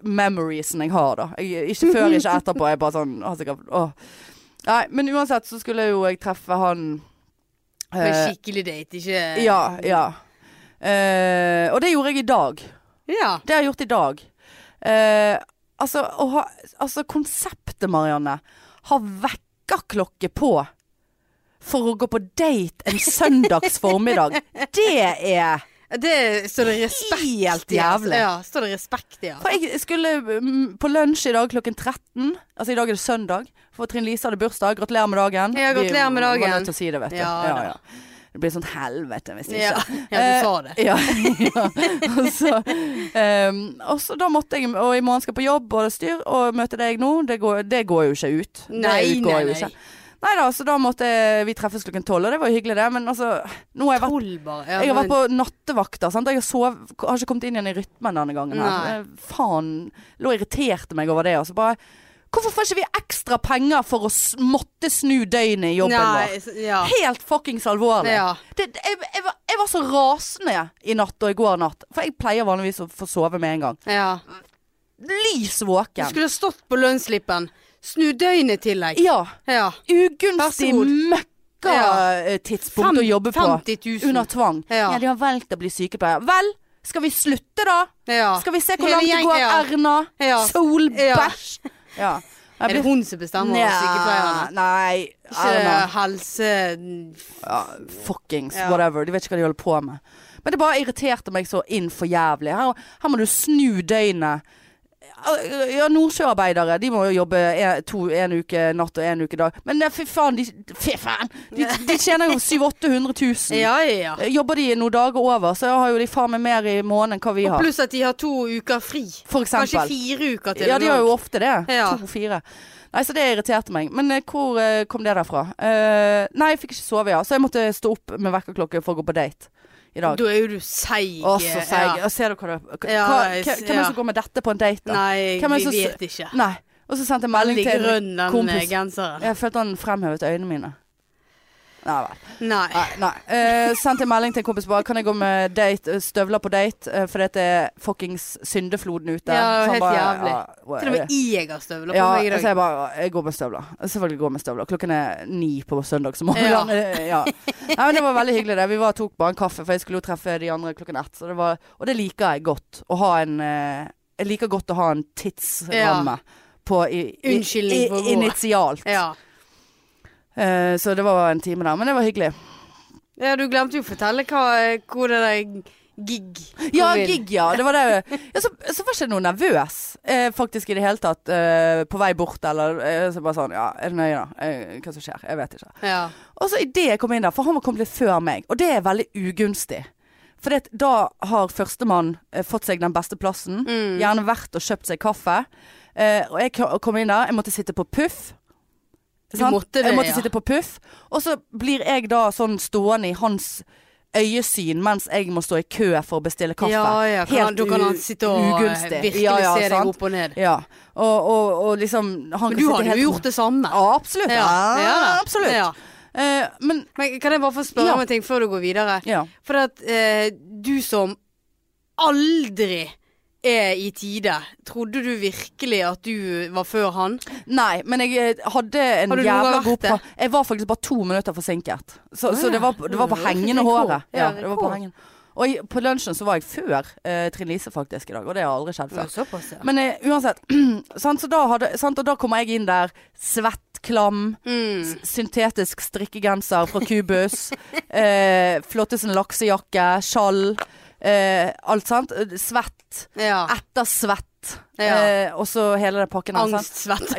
[SPEAKER 1] Memoriesen jeg har da jeg, Ikke før, ikke etterpå Jeg er bare sånn har sikkert, åh. Nei, men uansett så skulle jo jeg treffe han
[SPEAKER 2] På en
[SPEAKER 1] eh,
[SPEAKER 2] skikkelig date, ikke
[SPEAKER 1] Ja, ja Eh, Og det gjorde jeg i dag
[SPEAKER 2] Ja.
[SPEAKER 1] det har jeg gjort i dag. Eh, altså, å ha, altså, konseptet, Marianne, ha vekkerklokke på for å gå på date en søndags formiddag, det er
[SPEAKER 2] Det står det respekt i.
[SPEAKER 1] helt
[SPEAKER 2] altså.
[SPEAKER 1] jævlig.
[SPEAKER 2] Ja, står det respekt i. altså.
[SPEAKER 1] For jeg skulle mm, på lunsj i dag klokken 13. Altså i dag er det søndag, for Trine Lise hadde bursdag. Gratulerer med dagen.
[SPEAKER 2] Ja, gratulerer med
[SPEAKER 1] Vi var
[SPEAKER 2] dagen.
[SPEAKER 1] nødt til å si det, vet du.
[SPEAKER 2] Ja, da.
[SPEAKER 1] Det blir sånn helvete hvis ikke. Eh,
[SPEAKER 2] Ja, ja, du sa det.
[SPEAKER 1] Ja. ja. Og så, ehm, og så da måtte jeg, og i morgen skal jeg på jobb og det er styr, og møte deg nå, det går, det går jo ikke ut.
[SPEAKER 2] Nei,
[SPEAKER 1] det utgår
[SPEAKER 2] nei,
[SPEAKER 1] jo
[SPEAKER 2] nei.
[SPEAKER 1] ikke. Nei da, så da måtte vi treffes klokken tolv, og det var jo hyggelig det, men altså, nå har jeg vært
[SPEAKER 2] Tolv, bare. Ja,
[SPEAKER 1] jeg har
[SPEAKER 2] men-
[SPEAKER 1] vært på nattevakter. Sant? Jeg har, sov, har ikke kommet inn igjen i rytmen denne gangen.
[SPEAKER 2] Nei.
[SPEAKER 1] Her. Eh, Faen. Lå og irriterte meg over det. Og så bare Hvorfor får ikke vi ekstra penger for å s- måtte snu døgnet i jobben vår?
[SPEAKER 2] Nei, s- ja.
[SPEAKER 1] Helt fuckings alvorlig.
[SPEAKER 2] Ja.
[SPEAKER 1] Det, det, jeg, jeg, var, jeg var så rasende i natt og i går natt. For jeg pleier vanligvis å få sove med en gang.
[SPEAKER 2] ja.
[SPEAKER 1] Lys
[SPEAKER 2] Du
[SPEAKER 1] våken.
[SPEAKER 2] skulle ha stått på lønnsslippen. Snu døgnet til deg.
[SPEAKER 1] Ja.
[SPEAKER 2] Ja.
[SPEAKER 1] Ugunstig
[SPEAKER 2] Vær så god.
[SPEAKER 1] møkkatidspunkt
[SPEAKER 2] Fem-
[SPEAKER 1] å jobbe på.
[SPEAKER 2] 50 000.
[SPEAKER 1] Under tvang.
[SPEAKER 2] Ja.
[SPEAKER 1] ja, de har valgt å bli sykepleier. Vel, skal vi slutte da?
[SPEAKER 2] Ja.
[SPEAKER 1] Skal vi se hvor
[SPEAKER 2] Hele
[SPEAKER 1] langt det
[SPEAKER 2] gjengen,
[SPEAKER 1] går?
[SPEAKER 2] ja.
[SPEAKER 1] Erna,
[SPEAKER 2] Ja.
[SPEAKER 1] Solbæsj. Ja. Jeg
[SPEAKER 2] Er det
[SPEAKER 1] blir-
[SPEAKER 2] hun som bestemmer
[SPEAKER 1] Nja,
[SPEAKER 2] over sykepleierne?
[SPEAKER 1] Nei, Erna.
[SPEAKER 2] Ikke helse...
[SPEAKER 1] Ja, fuckings
[SPEAKER 2] Ja.
[SPEAKER 1] whatever. De vet ikke hva de holder på med. Men det bare irriterte meg så inn for jævlig. Her, her må du snu døgnet. Ja, Nordsjøarbeidere de må jo jobbe en, to, en uke natt og en uke dag. Men eh, fy faen, de, fy faen. de, de tjener jo 700 800 000.
[SPEAKER 2] Ja, ja.
[SPEAKER 1] Eh, Jobber de noen dager over, så har jo de faen meg mer i måneden enn hva vi
[SPEAKER 2] Og
[SPEAKER 1] har.
[SPEAKER 2] pluss at de har to uker fri.
[SPEAKER 1] For eksempel.
[SPEAKER 2] Kanskje fire uker til.
[SPEAKER 1] Ja, de har jo
[SPEAKER 2] nå.
[SPEAKER 1] ofte det.
[SPEAKER 2] Ja.
[SPEAKER 1] To-fire. Nei, så det irriterte meg. Men eh, hvor eh, kom det derfra? Eh, nei, jeg fikk ikke sove, ja. Så jeg måtte stå opp med vekkerklokke for å gå på date i dag.
[SPEAKER 2] Da er jo du seig.
[SPEAKER 1] Å, så seig.
[SPEAKER 2] Ja.
[SPEAKER 1] Ja. Ser du hva det hva,
[SPEAKER 2] Ja,
[SPEAKER 1] hva-
[SPEAKER 2] jeg
[SPEAKER 1] Hvem
[SPEAKER 2] s-
[SPEAKER 1] hvem er det som
[SPEAKER 2] ja.
[SPEAKER 1] går med dette på en date, da?
[SPEAKER 2] Nei,
[SPEAKER 1] Hvem er det
[SPEAKER 2] vi
[SPEAKER 1] som s-
[SPEAKER 2] vet ikke.
[SPEAKER 1] Nei. Og så sendte jeg melding
[SPEAKER 2] Veldig
[SPEAKER 1] til
[SPEAKER 2] grønn den
[SPEAKER 1] kompis.
[SPEAKER 2] eh, genseren.
[SPEAKER 1] Jeg følte han fremhevet øynene mine. Nei vel.
[SPEAKER 2] Nei.
[SPEAKER 1] Nei. nei. Eh, sendte en melding til en kompis bare Kan jeg gå med date, eh, støvler på date, uh, fordi at det er fuckings syndefloden ute.
[SPEAKER 2] Ja,
[SPEAKER 1] Så han
[SPEAKER 2] helt jævlig.
[SPEAKER 1] hva
[SPEAKER 2] Til og
[SPEAKER 1] er det?
[SPEAKER 2] med jeg har støvler på
[SPEAKER 1] Ja,
[SPEAKER 2] meg i
[SPEAKER 1] så
[SPEAKER 2] dag.
[SPEAKER 1] jeg bare Jeg går med støvler. Selvfølgelig går jeg med støvler. Klokken er ni på søndag som morgen.
[SPEAKER 2] Ja.
[SPEAKER 1] Ja. Nei, men det var veldig hyggelig, det. Vi var, tok bare en kaffe, for jeg skulle jo treffe de andre klokken ett. Så det var, og det liker jeg godt. Å ha en eh, Jeg liker godt å ha en tidsramme på i, i,
[SPEAKER 2] Unnskyldning for å
[SPEAKER 1] i,
[SPEAKER 2] gå.
[SPEAKER 1] Initialt.
[SPEAKER 2] Ja.
[SPEAKER 1] Eh, så det var en time der. Men det var hyggelig.
[SPEAKER 2] ja, du glemte jo å fortelle hva, hvor det der gig kom
[SPEAKER 1] Ja,
[SPEAKER 2] inn.
[SPEAKER 1] gig, ja. Det var det. Ja, så, så var ikke jeg noe nervøs eh, faktisk i det hele tatt. Eh, på vei bort eller eh, så bare sånn Ja, er det nøye, da? Eh, hva som skjer? Jeg vet ikke.
[SPEAKER 2] Ja.
[SPEAKER 1] Og så idet jeg kom inn der, for han var kommet litt før meg, og det er veldig ugunstig. For da har førstemann eh, fått seg den beste plassen,
[SPEAKER 2] Mm.
[SPEAKER 1] gjerne vært og kjøpt seg kaffe. Eh, og jeg k- kom inn der, jeg måtte sitte på puff.
[SPEAKER 2] Du
[SPEAKER 1] Sant?
[SPEAKER 2] måtte det,
[SPEAKER 1] jeg måtte
[SPEAKER 2] ja.
[SPEAKER 1] sitte på puff. Og så blir jeg da sånn stående i hans øyesyn mens jeg må stå i kø for å bestille kaffe.
[SPEAKER 2] Ja, ja. Kan han, da kan han
[SPEAKER 1] u-
[SPEAKER 2] sitte og eh, virkelig
[SPEAKER 1] Ja, ja,
[SPEAKER 2] se deg
[SPEAKER 1] sant?
[SPEAKER 2] opp og ned.
[SPEAKER 1] Ja. Og, og, og liksom han
[SPEAKER 2] Men
[SPEAKER 1] kan
[SPEAKER 2] du
[SPEAKER 1] sitte
[SPEAKER 2] hadde
[SPEAKER 1] helt-
[SPEAKER 2] jo gjort det samme.
[SPEAKER 1] Ja, absolutt. Ja,
[SPEAKER 2] da.
[SPEAKER 1] absolutt.
[SPEAKER 2] Ja.
[SPEAKER 1] Eh, men
[SPEAKER 2] Men kan jeg bare få spørre
[SPEAKER 1] Ja.
[SPEAKER 2] om en ting før du går videre?
[SPEAKER 1] ja.
[SPEAKER 2] For at eh, du som aldri er i tide, trodde du virkelig at du var før han?
[SPEAKER 1] Nei, men jeg eh, hadde en
[SPEAKER 2] Har du noen
[SPEAKER 1] jævla
[SPEAKER 2] gang vært
[SPEAKER 1] god
[SPEAKER 2] det?
[SPEAKER 1] plan. Jeg var faktisk bare to minutter forsinket. Så,
[SPEAKER 2] Å, ja.
[SPEAKER 1] så det, var, det var på
[SPEAKER 2] Mm,
[SPEAKER 1] hengende
[SPEAKER 2] rekord.
[SPEAKER 1] håret.
[SPEAKER 2] Ja,
[SPEAKER 1] Ja, det var på
[SPEAKER 2] rekord.
[SPEAKER 1] hengen. Og i- på lunsjen så var jeg før eh, Trine Lise faktisk i dag, og det har aldri skjedd før.
[SPEAKER 2] såpass, ja.
[SPEAKER 1] Men eh, uansett, sant, så da hadde, sant, og da kommer jeg inn der svett, klam,
[SPEAKER 2] Mm.
[SPEAKER 1] s- syntetisk strikkegenser fra Kubus, eh, flottesen laksejakke, skjall, eh, alt sant. Svett,
[SPEAKER 2] ja.
[SPEAKER 1] etter svett,
[SPEAKER 2] Ja.
[SPEAKER 1] eh, og så hele den pakken. her, sant?
[SPEAKER 2] Angstsvette.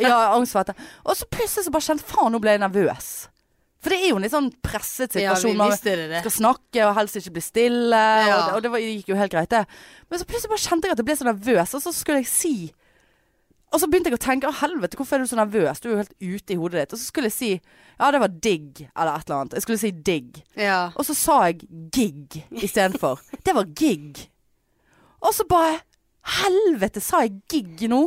[SPEAKER 1] altså. Ja, angstsvette. Og så plutselig så bare kjente faen, nå ble jeg nervøs. For det er jo en litt sånn presset
[SPEAKER 2] Ja, vi
[SPEAKER 1] situasjon. Man
[SPEAKER 2] visste det. det.
[SPEAKER 1] skal snakke og helst ikke bli stille. Og,
[SPEAKER 2] Ja.
[SPEAKER 1] det, og det var, gikk jo helt greit, det. Men så plutselig bare kjente jeg at jeg ble så nervøs, og så skulle jeg si Og så begynte jeg å tenke 'Å, helvete, hvorfor er du så nervøs? Du er jo helt ute i hodet ditt.' Og så skulle jeg si 'Ja, det var digg', eller et eller annet. Jeg skulle si 'digg'.
[SPEAKER 2] Ja.
[SPEAKER 1] Og så sa jeg 'gig' istedenfor. Det var gig. Og så bare Helvete, sa jeg gig nå?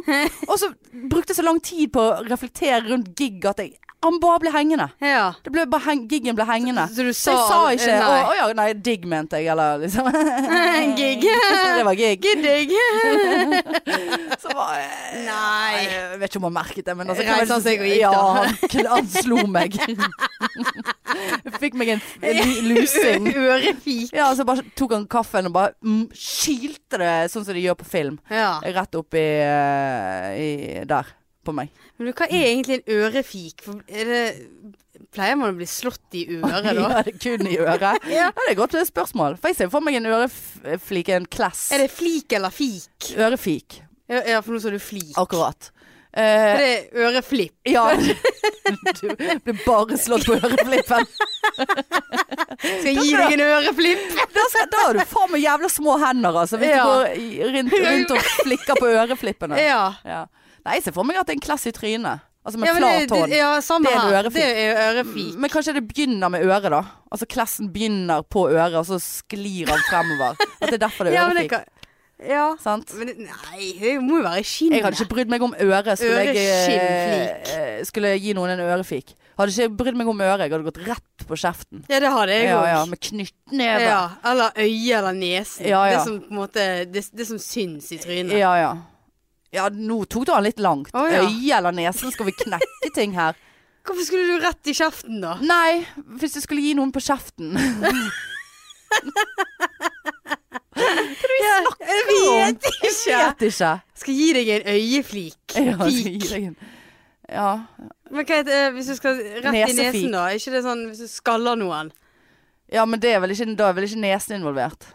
[SPEAKER 1] Og så brukte jeg så lang tid på å reflektere rundt gig at jeg Han bare ble hengende.
[SPEAKER 2] ja.
[SPEAKER 1] Det ble bare heng, giggen ble hengende.
[SPEAKER 2] Så du
[SPEAKER 1] Så jeg sa ikke
[SPEAKER 2] eh,
[SPEAKER 1] 'Å å ja, nei, digg', mente jeg, eller liksom.
[SPEAKER 2] Nei. Gig.
[SPEAKER 1] Det var gig.
[SPEAKER 2] Gid deg.
[SPEAKER 1] Så var jeg
[SPEAKER 2] Nei.
[SPEAKER 1] Jeg vet ikke om han merket det, men altså,
[SPEAKER 2] Reiste
[SPEAKER 1] hva var det som-
[SPEAKER 2] han seg og gikk,
[SPEAKER 1] ja,
[SPEAKER 2] da?
[SPEAKER 1] han, kn- han slo meg. Fikk meg en lu- lusing.
[SPEAKER 2] Ørefik.
[SPEAKER 1] Ja, så bare tok han kaffen og bare mm, kylte det, sånn som de gjør på film.
[SPEAKER 2] Ja.
[SPEAKER 1] Rett opp i, eh, i der, på meg.
[SPEAKER 2] Men du, hva er egentlig en ørefik? For er det, pleier man å bli slått i øret da?
[SPEAKER 1] Ja, det kun i øret.
[SPEAKER 2] Ja.
[SPEAKER 1] Ja, det er et godt eh, spørsmål. For jeg ser for meg en øreflik, en klass.
[SPEAKER 2] Er det flik eller fik?
[SPEAKER 1] Ørefik,
[SPEAKER 2] Ja, ja, for nå sa du flik.
[SPEAKER 1] akkurat. Eh,
[SPEAKER 2] Er det øreflipp?
[SPEAKER 1] ja, du ble bare slått på øreflippen.
[SPEAKER 2] Skal jeg gi deg en øreflipp?
[SPEAKER 1] Da, skal, da har du faen meg jævla små hender, altså. Hvis
[SPEAKER 2] Ja.
[SPEAKER 1] du går i- rundt, rundt og flikker på øreflippene.
[SPEAKER 2] Ja.
[SPEAKER 1] Ja. Nei, jeg ser for meg at det er en klass i trynet. Altså med
[SPEAKER 2] ja, men
[SPEAKER 1] flat
[SPEAKER 2] det-
[SPEAKER 1] hånd.
[SPEAKER 2] det- Ja, samme
[SPEAKER 1] Det er en
[SPEAKER 2] her.
[SPEAKER 1] ørefik. Mm.
[SPEAKER 2] Det er ørefik.
[SPEAKER 1] Men kanskje det begynner med øret, da. Altså klassen begynner på øret, og så sklir han fremover. At det er derfor det er
[SPEAKER 2] Ja, men det
[SPEAKER 1] ørefik.
[SPEAKER 2] kan Ja.
[SPEAKER 1] Sant?
[SPEAKER 2] Men det, nei, det må jo være i
[SPEAKER 1] Jeg
[SPEAKER 2] skinnet.
[SPEAKER 1] hadde ikke brydd meg om øret skulle jeg eh,
[SPEAKER 2] Øreskinnflik.
[SPEAKER 1] eh, skulle jeg gi noen en ørefik. Hadde ikke brydd meg om øret, jeg hadde gått rett på kjeften.
[SPEAKER 2] Ja, det hadde jeg
[SPEAKER 1] Ja,
[SPEAKER 2] òg.
[SPEAKER 1] ja, med knyttneve.
[SPEAKER 2] Ja, eller øyet eller nesen.
[SPEAKER 1] Ja, ja.
[SPEAKER 2] Det som på en måte Det, det som syns i trynet.
[SPEAKER 1] Ja, ja. Ja, nå tok du han litt langt.
[SPEAKER 2] Å, ja.
[SPEAKER 1] Øyet eller nesen, skal vi knekke ting her?
[SPEAKER 2] Hvorfor skulle du rett i kjeften, da?
[SPEAKER 1] Nei, hvis jeg skulle gi noen på kjeften.
[SPEAKER 2] Ja, jeg vet
[SPEAKER 1] Jeg
[SPEAKER 2] ikke.
[SPEAKER 1] vet ikke.
[SPEAKER 2] Skal gi deg en øyeflik.
[SPEAKER 1] Ja, så
[SPEAKER 2] Fik.
[SPEAKER 1] gir jeg en- ja.
[SPEAKER 2] Men hva heter eh, hvis du skal rett i
[SPEAKER 1] Nesefik.
[SPEAKER 2] nesen, da? Er ikke det sånn hvis du skaller noen?
[SPEAKER 1] ja, men det er vel ikke, da er vel ikke nesen involvert.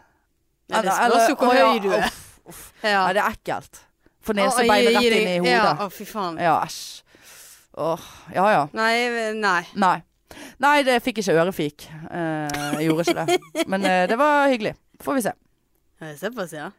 [SPEAKER 2] Ja, det spørs jo hvor
[SPEAKER 1] Eller-
[SPEAKER 2] høy du er.
[SPEAKER 1] Uff, uff.
[SPEAKER 2] Ja.
[SPEAKER 1] Nei, det er ekkelt. Få nese
[SPEAKER 2] Å,
[SPEAKER 1] og bein
[SPEAKER 2] gi-
[SPEAKER 1] rett
[SPEAKER 2] gi
[SPEAKER 1] inn i
[SPEAKER 2] deg- Ja,
[SPEAKER 1] hodet.
[SPEAKER 2] å, fy faen.
[SPEAKER 1] Ja, æsj. Åh, ja ja.
[SPEAKER 2] Nei, nei.
[SPEAKER 1] Nei. Nei, det fikk ikke ørefik. Eh, jeg gjorde ikke det. Men eh, det var hyggelig. Får vi se.
[SPEAKER 2] Ja, det er Såpass, ja.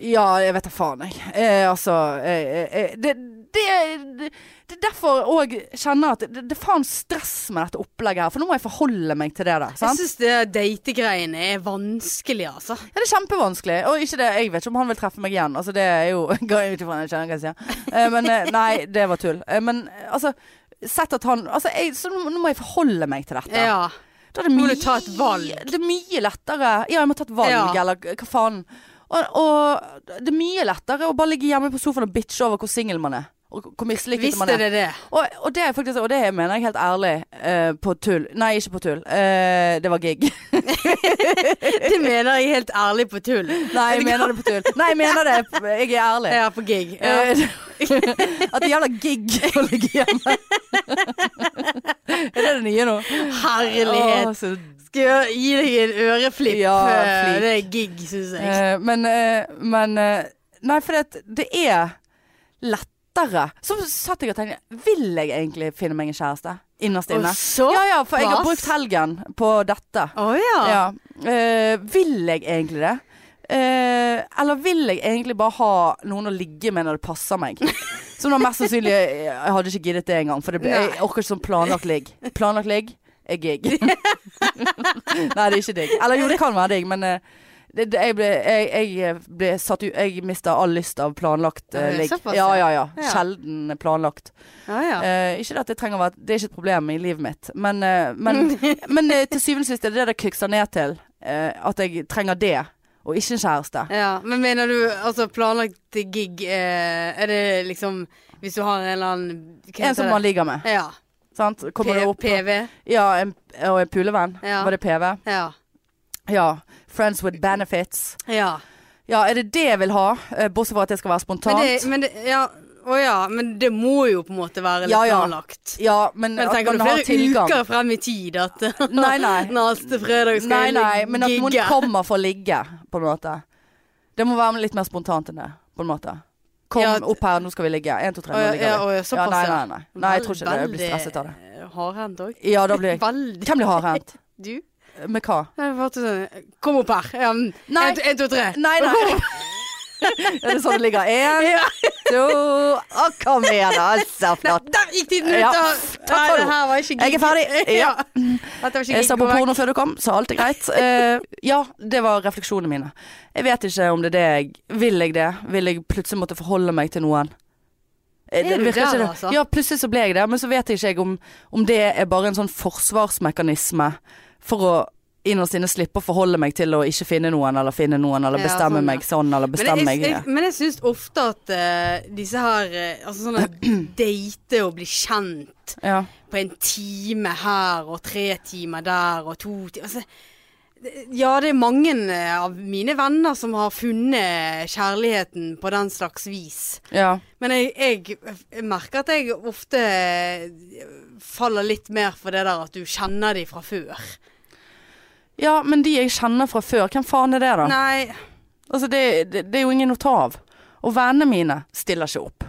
[SPEAKER 1] Ja, jeg vet da faen, jeg. Eh, altså eh, eh, det, det, det, det er derfor òg kjenner at det, det er faen stress med dette opplegget her. For nå må jeg forholde meg til det der.
[SPEAKER 2] Jeg
[SPEAKER 1] Sant?
[SPEAKER 2] syns dategreiene er vanskelig, altså.
[SPEAKER 1] Ja, det er kjempevanskelig. Og ikke det, jeg vet ikke om han vil treffe meg igjen. Altså, det er jo Går jeg ut ifra jeg kjenner hva jeg sier. Eh, men eh, nei, det var tull. Eh, men eh, altså Sett at han Altså, jeg, så nå, nå må jeg forholde meg til dette.
[SPEAKER 2] Ja.
[SPEAKER 1] Da er det
[SPEAKER 2] Må
[SPEAKER 1] mye,
[SPEAKER 2] du ta et valg?
[SPEAKER 1] Det er mye lettere Ja, jeg må ta et valg,
[SPEAKER 2] Ja.
[SPEAKER 1] eller hva faen. Og, og det er mye lettere å bare ligge hjemme på sofaen og bitche over hvor singel man er. Og hvor mislykket man
[SPEAKER 2] Visste
[SPEAKER 1] er.
[SPEAKER 2] det det?
[SPEAKER 1] Og, og det er faktisk Og det mener jeg helt ærlig eh, på tull. Nei, ikke på tull. Eh, det var gig.
[SPEAKER 2] Det mener jeg helt ærlig på tull.
[SPEAKER 1] Nei, jeg mener det på tull. Nei, jeg mener det. Jeg er ærlig.
[SPEAKER 2] Jeg er på gig. Ja.
[SPEAKER 1] Eh, At det gjelder gig å ligge hjemme. er det det nye nå?
[SPEAKER 2] Herlighet.
[SPEAKER 1] Å, så
[SPEAKER 2] Skal jeg gi deg en øreflipp?
[SPEAKER 1] Ja,
[SPEAKER 2] Eh,
[SPEAKER 1] flik.
[SPEAKER 2] Det er gig, syns jeg.
[SPEAKER 1] Eh, men eh, men eh, Nei, for det, det er lettere. Så satt jeg og tenkte Vil jeg egentlig finne meg en kjæreste? Innerst
[SPEAKER 2] Og
[SPEAKER 1] inne.
[SPEAKER 2] så
[SPEAKER 1] Ja, ja, for jeg har
[SPEAKER 2] pass.
[SPEAKER 1] brukt helgen på dette.
[SPEAKER 2] Å ja.
[SPEAKER 1] Ja. Eh, vil jeg egentlig det? Eh, eller vil jeg egentlig bare ha noen å ligge med når det passer meg? Som da mest sannsynlig Jeg hadde ikke giddet det engang, for det ble, jeg
[SPEAKER 2] Nei.
[SPEAKER 1] orker ikke sånn planlagt ligg. Planlagt ligg er gig. Nei, det er ikke digg. Eller jo, det kan være digg, men eh, det, det, jeg ble, jeg, jeg ble satt ut Jeg mista all lyst av planlagt eh,
[SPEAKER 2] Ja, det er
[SPEAKER 1] ligg.
[SPEAKER 2] såpass,
[SPEAKER 1] Ja,
[SPEAKER 2] ja.
[SPEAKER 1] ja, ja.
[SPEAKER 2] Ja.
[SPEAKER 1] Sjelden planlagt.
[SPEAKER 2] Å, ja.
[SPEAKER 1] Eh, ikke at det trenger å være Det er ikke et problem i livet mitt, men, eh, men, men eh, til syvende og sist er det det det kykser ned til. eh, at jeg trenger det, og ikke en kjæreste.
[SPEAKER 2] Ja, men mener du altså planlagt gig eh, Er det liksom hvis du har en eller annen hva heter
[SPEAKER 1] En som
[SPEAKER 2] det?
[SPEAKER 1] man ligger med.
[SPEAKER 2] Ja.
[SPEAKER 1] Sant? Kommer
[SPEAKER 2] P-
[SPEAKER 1] det opp
[SPEAKER 2] PV.
[SPEAKER 1] Ja, en, og en pulevenn.
[SPEAKER 2] Ja.
[SPEAKER 1] Var det PV?
[SPEAKER 2] Ja.
[SPEAKER 1] Ja. Friends with benefits.
[SPEAKER 2] ja.
[SPEAKER 1] Ja, er det det jeg vil ha? Eh, bortsett fra at det skal være
[SPEAKER 2] Men
[SPEAKER 1] spontant.
[SPEAKER 2] det, men det ja, Å ja, men det må jo på en måte være litt
[SPEAKER 1] Ja, ja.
[SPEAKER 2] planlagt.
[SPEAKER 1] ja, men,
[SPEAKER 2] Men
[SPEAKER 1] at
[SPEAKER 2] tenker
[SPEAKER 1] man
[SPEAKER 2] du
[SPEAKER 1] har
[SPEAKER 2] flere
[SPEAKER 1] tilgang.
[SPEAKER 2] uker frem i tid at
[SPEAKER 1] Nei, nei.
[SPEAKER 2] neste fredag skal
[SPEAKER 1] Nei, nei,
[SPEAKER 2] jeg
[SPEAKER 1] men at noen
[SPEAKER 2] gigge?
[SPEAKER 1] kommer for å ligge, på en måte. Det må være litt mer spontant enn det, på en måte. Kom
[SPEAKER 2] Ja, at-
[SPEAKER 1] opp her, nå skal vi ligge. Én, to, tre,
[SPEAKER 2] Å ja,
[SPEAKER 1] nå
[SPEAKER 2] ja,
[SPEAKER 1] ligger vi.
[SPEAKER 2] å ja,
[SPEAKER 1] Ja,
[SPEAKER 2] såpass,
[SPEAKER 1] nei,
[SPEAKER 2] ja.
[SPEAKER 1] nei, nei. nei, jeg tror ikke det. Jeg blir stresset av det.
[SPEAKER 2] Hardhendt òg.
[SPEAKER 1] Ja, da blir jeg
[SPEAKER 2] Veldig.
[SPEAKER 1] Hvem blir hardhendt?
[SPEAKER 2] Du?
[SPEAKER 1] Med hva?
[SPEAKER 2] Nei, bare sånn Kom opp her. Ja, men,
[SPEAKER 1] Nei.
[SPEAKER 2] En, to, en, to, tre.
[SPEAKER 1] Nei, nei. Er det sånn det ligger? Én, to Å, Kom igjen, da. Altså,
[SPEAKER 2] Nei,
[SPEAKER 1] flott.
[SPEAKER 2] der gikk tiden ut!
[SPEAKER 1] Ja.
[SPEAKER 2] da.
[SPEAKER 1] Takk
[SPEAKER 2] Nei,
[SPEAKER 1] for
[SPEAKER 2] det
[SPEAKER 1] det.
[SPEAKER 2] her var ikke
[SPEAKER 1] Jeg er ferdig. Ja.
[SPEAKER 2] Dette var ikke
[SPEAKER 1] Jeg så på
[SPEAKER 2] gikk-
[SPEAKER 1] porno før du kom, så alt er greit. Eh, ja, det var refleksjonene mine. Jeg vet ikke om det er det jeg Vil jeg det? Vil jeg plutselig måtte forholde meg til noen? Eh,
[SPEAKER 2] Er du
[SPEAKER 1] virker
[SPEAKER 2] der,
[SPEAKER 1] ikke det.
[SPEAKER 2] altså?
[SPEAKER 1] Ja, plutselig så ble jeg det. Men så vet jeg ikke jeg om, om det er bare en sånn forsvarsmekanisme for å innerst inne slippe å forholde meg til å ikke finne noen, eller finne noen, eller
[SPEAKER 2] Ja,
[SPEAKER 1] bestemme
[SPEAKER 2] sånn, ja.
[SPEAKER 1] meg sånn, eller bestemme
[SPEAKER 2] men jeg,
[SPEAKER 1] meg
[SPEAKER 2] jeg, men jeg syns ofte at eh, disse her eh, Altså sånn at date og bli kjent
[SPEAKER 1] ja.
[SPEAKER 2] på en time her og tre timer der og to timer altså, det- Ja, det er mange eh, av mine venner som har funnet kjærligheten på den slags vis.
[SPEAKER 1] ja.
[SPEAKER 2] Men jeg, jeg, jeg merker at jeg ofte eh, faller litt mer for det der at du kjenner de fra før.
[SPEAKER 1] Ja, men de jeg kjenner fra før, hvem faen er det da?
[SPEAKER 2] Nei,
[SPEAKER 1] Altså, det, det, det er jo ingen å ta av. Og vennene mine stiller ikke opp.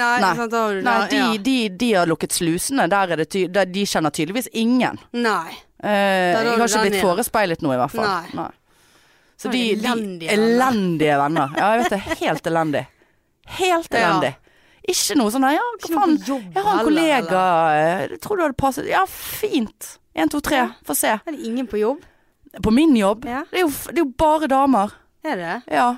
[SPEAKER 2] nei,
[SPEAKER 1] Nei.
[SPEAKER 2] Sant, da har du
[SPEAKER 1] Nei,
[SPEAKER 2] der,
[SPEAKER 1] de, de, de har lukket slusene. Der er det ty der, de kjenner tydeligvis ingen.
[SPEAKER 2] ja. Nei.
[SPEAKER 1] Eh,
[SPEAKER 2] har
[SPEAKER 1] jeg har
[SPEAKER 2] du
[SPEAKER 1] ikke
[SPEAKER 2] den
[SPEAKER 1] blitt
[SPEAKER 2] igjen.
[SPEAKER 1] forespeilet noe, i hvert fall.
[SPEAKER 2] Nei.
[SPEAKER 1] Så
[SPEAKER 2] Nei,
[SPEAKER 1] de, de
[SPEAKER 2] elendige venner.
[SPEAKER 1] Elendige venner. Ja, jeg vet det. Helt elendig. Helt
[SPEAKER 2] Ja.
[SPEAKER 1] elendig. Ikke noe sånn nei, ja, hva
[SPEAKER 2] Ikke noe
[SPEAKER 1] faen.
[SPEAKER 2] på jobb
[SPEAKER 1] Jeg har en
[SPEAKER 2] heller,
[SPEAKER 1] kollega eh, Jeg tror du hadde passet Ja, fint. Én, to, tre. Få se.
[SPEAKER 2] Er det ingen på jobb?
[SPEAKER 1] På min jobb.
[SPEAKER 2] Ja.
[SPEAKER 1] Det, er jo, f- det er jo bare damer.
[SPEAKER 2] Er det det?
[SPEAKER 1] Ja.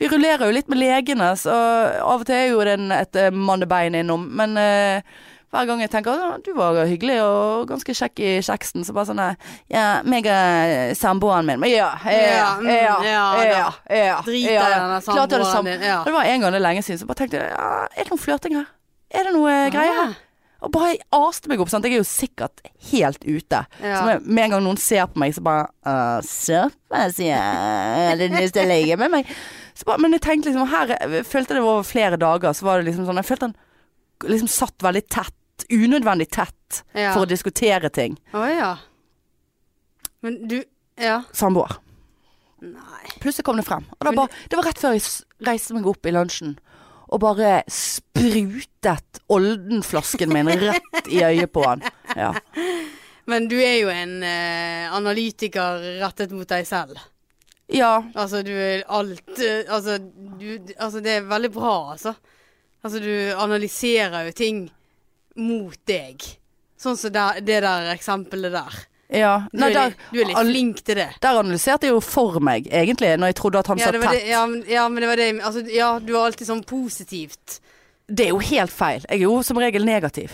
[SPEAKER 1] Vi rullerer jo litt med legene, så av og til er jo det en- et eh, mannebein innom. Men eh, hver gang jeg tenker at du var hyggelig og ganske kjekk i kjeksen, så bare sånn eh, Ja, meg og eh, samboeren min. Men ja, ja,
[SPEAKER 2] Ja, mm,
[SPEAKER 1] ja,
[SPEAKER 2] ja, da.
[SPEAKER 1] ja, ja.
[SPEAKER 2] Drit i
[SPEAKER 1] ja.
[SPEAKER 2] denne
[SPEAKER 1] Klart det er det
[SPEAKER 2] samboeren
[SPEAKER 1] samme.
[SPEAKER 2] din, ja.
[SPEAKER 1] Det var en gang det er lenge siden, så bare tenkte jeg ja, er det noe flørting her? Er det noe
[SPEAKER 2] Ah.
[SPEAKER 1] greier her? Og bare jeg aste meg opp, sant. Jeg er jo sikkert helt ute.
[SPEAKER 2] Ja.
[SPEAKER 1] Så med, med en gang noen ser på meg, så bare «Å, Søppa, sier jeg. Har du lyst til å ligge med meg? Så bare, men jeg tenkte liksom her jeg følte det var over flere dager, så var det liksom sånn Jeg følte han liksom satt veldig tett. Unødvendig tett
[SPEAKER 2] Ah, Ja.
[SPEAKER 1] for å diskutere ting.
[SPEAKER 2] Å ja. Men du Ja.
[SPEAKER 1] Samboer.
[SPEAKER 2] Nei.
[SPEAKER 1] Plutselig kom det frem. Og da
[SPEAKER 2] Men-
[SPEAKER 1] bare, det var rett før jeg s- reiste meg opp i lunsjen og bare sprutet Olden-flasken min rett i øyet på han. Ja.
[SPEAKER 2] Men du er jo en eh, analytiker rettet mot deg selv.
[SPEAKER 1] ja.
[SPEAKER 2] Altså, du er alt eh, altså, du, altså, det er veldig bra, altså. Altså, du analyserer jo ting mot deg. Sånn som det, det der eksempelet der.
[SPEAKER 1] ja.
[SPEAKER 2] Du,
[SPEAKER 1] Nei,
[SPEAKER 2] er,
[SPEAKER 1] der,
[SPEAKER 2] litt- du er litt flink til det.
[SPEAKER 1] der analyserte jeg jo for meg, egentlig, når jeg trodde at han
[SPEAKER 2] Ja,
[SPEAKER 1] satt
[SPEAKER 2] det var
[SPEAKER 1] tett.
[SPEAKER 2] det, ja, men- ja, men det var det altså, Ja, du er alltid sånn positivt.
[SPEAKER 1] Det er jo helt feil. Jeg er jo som regel negativ.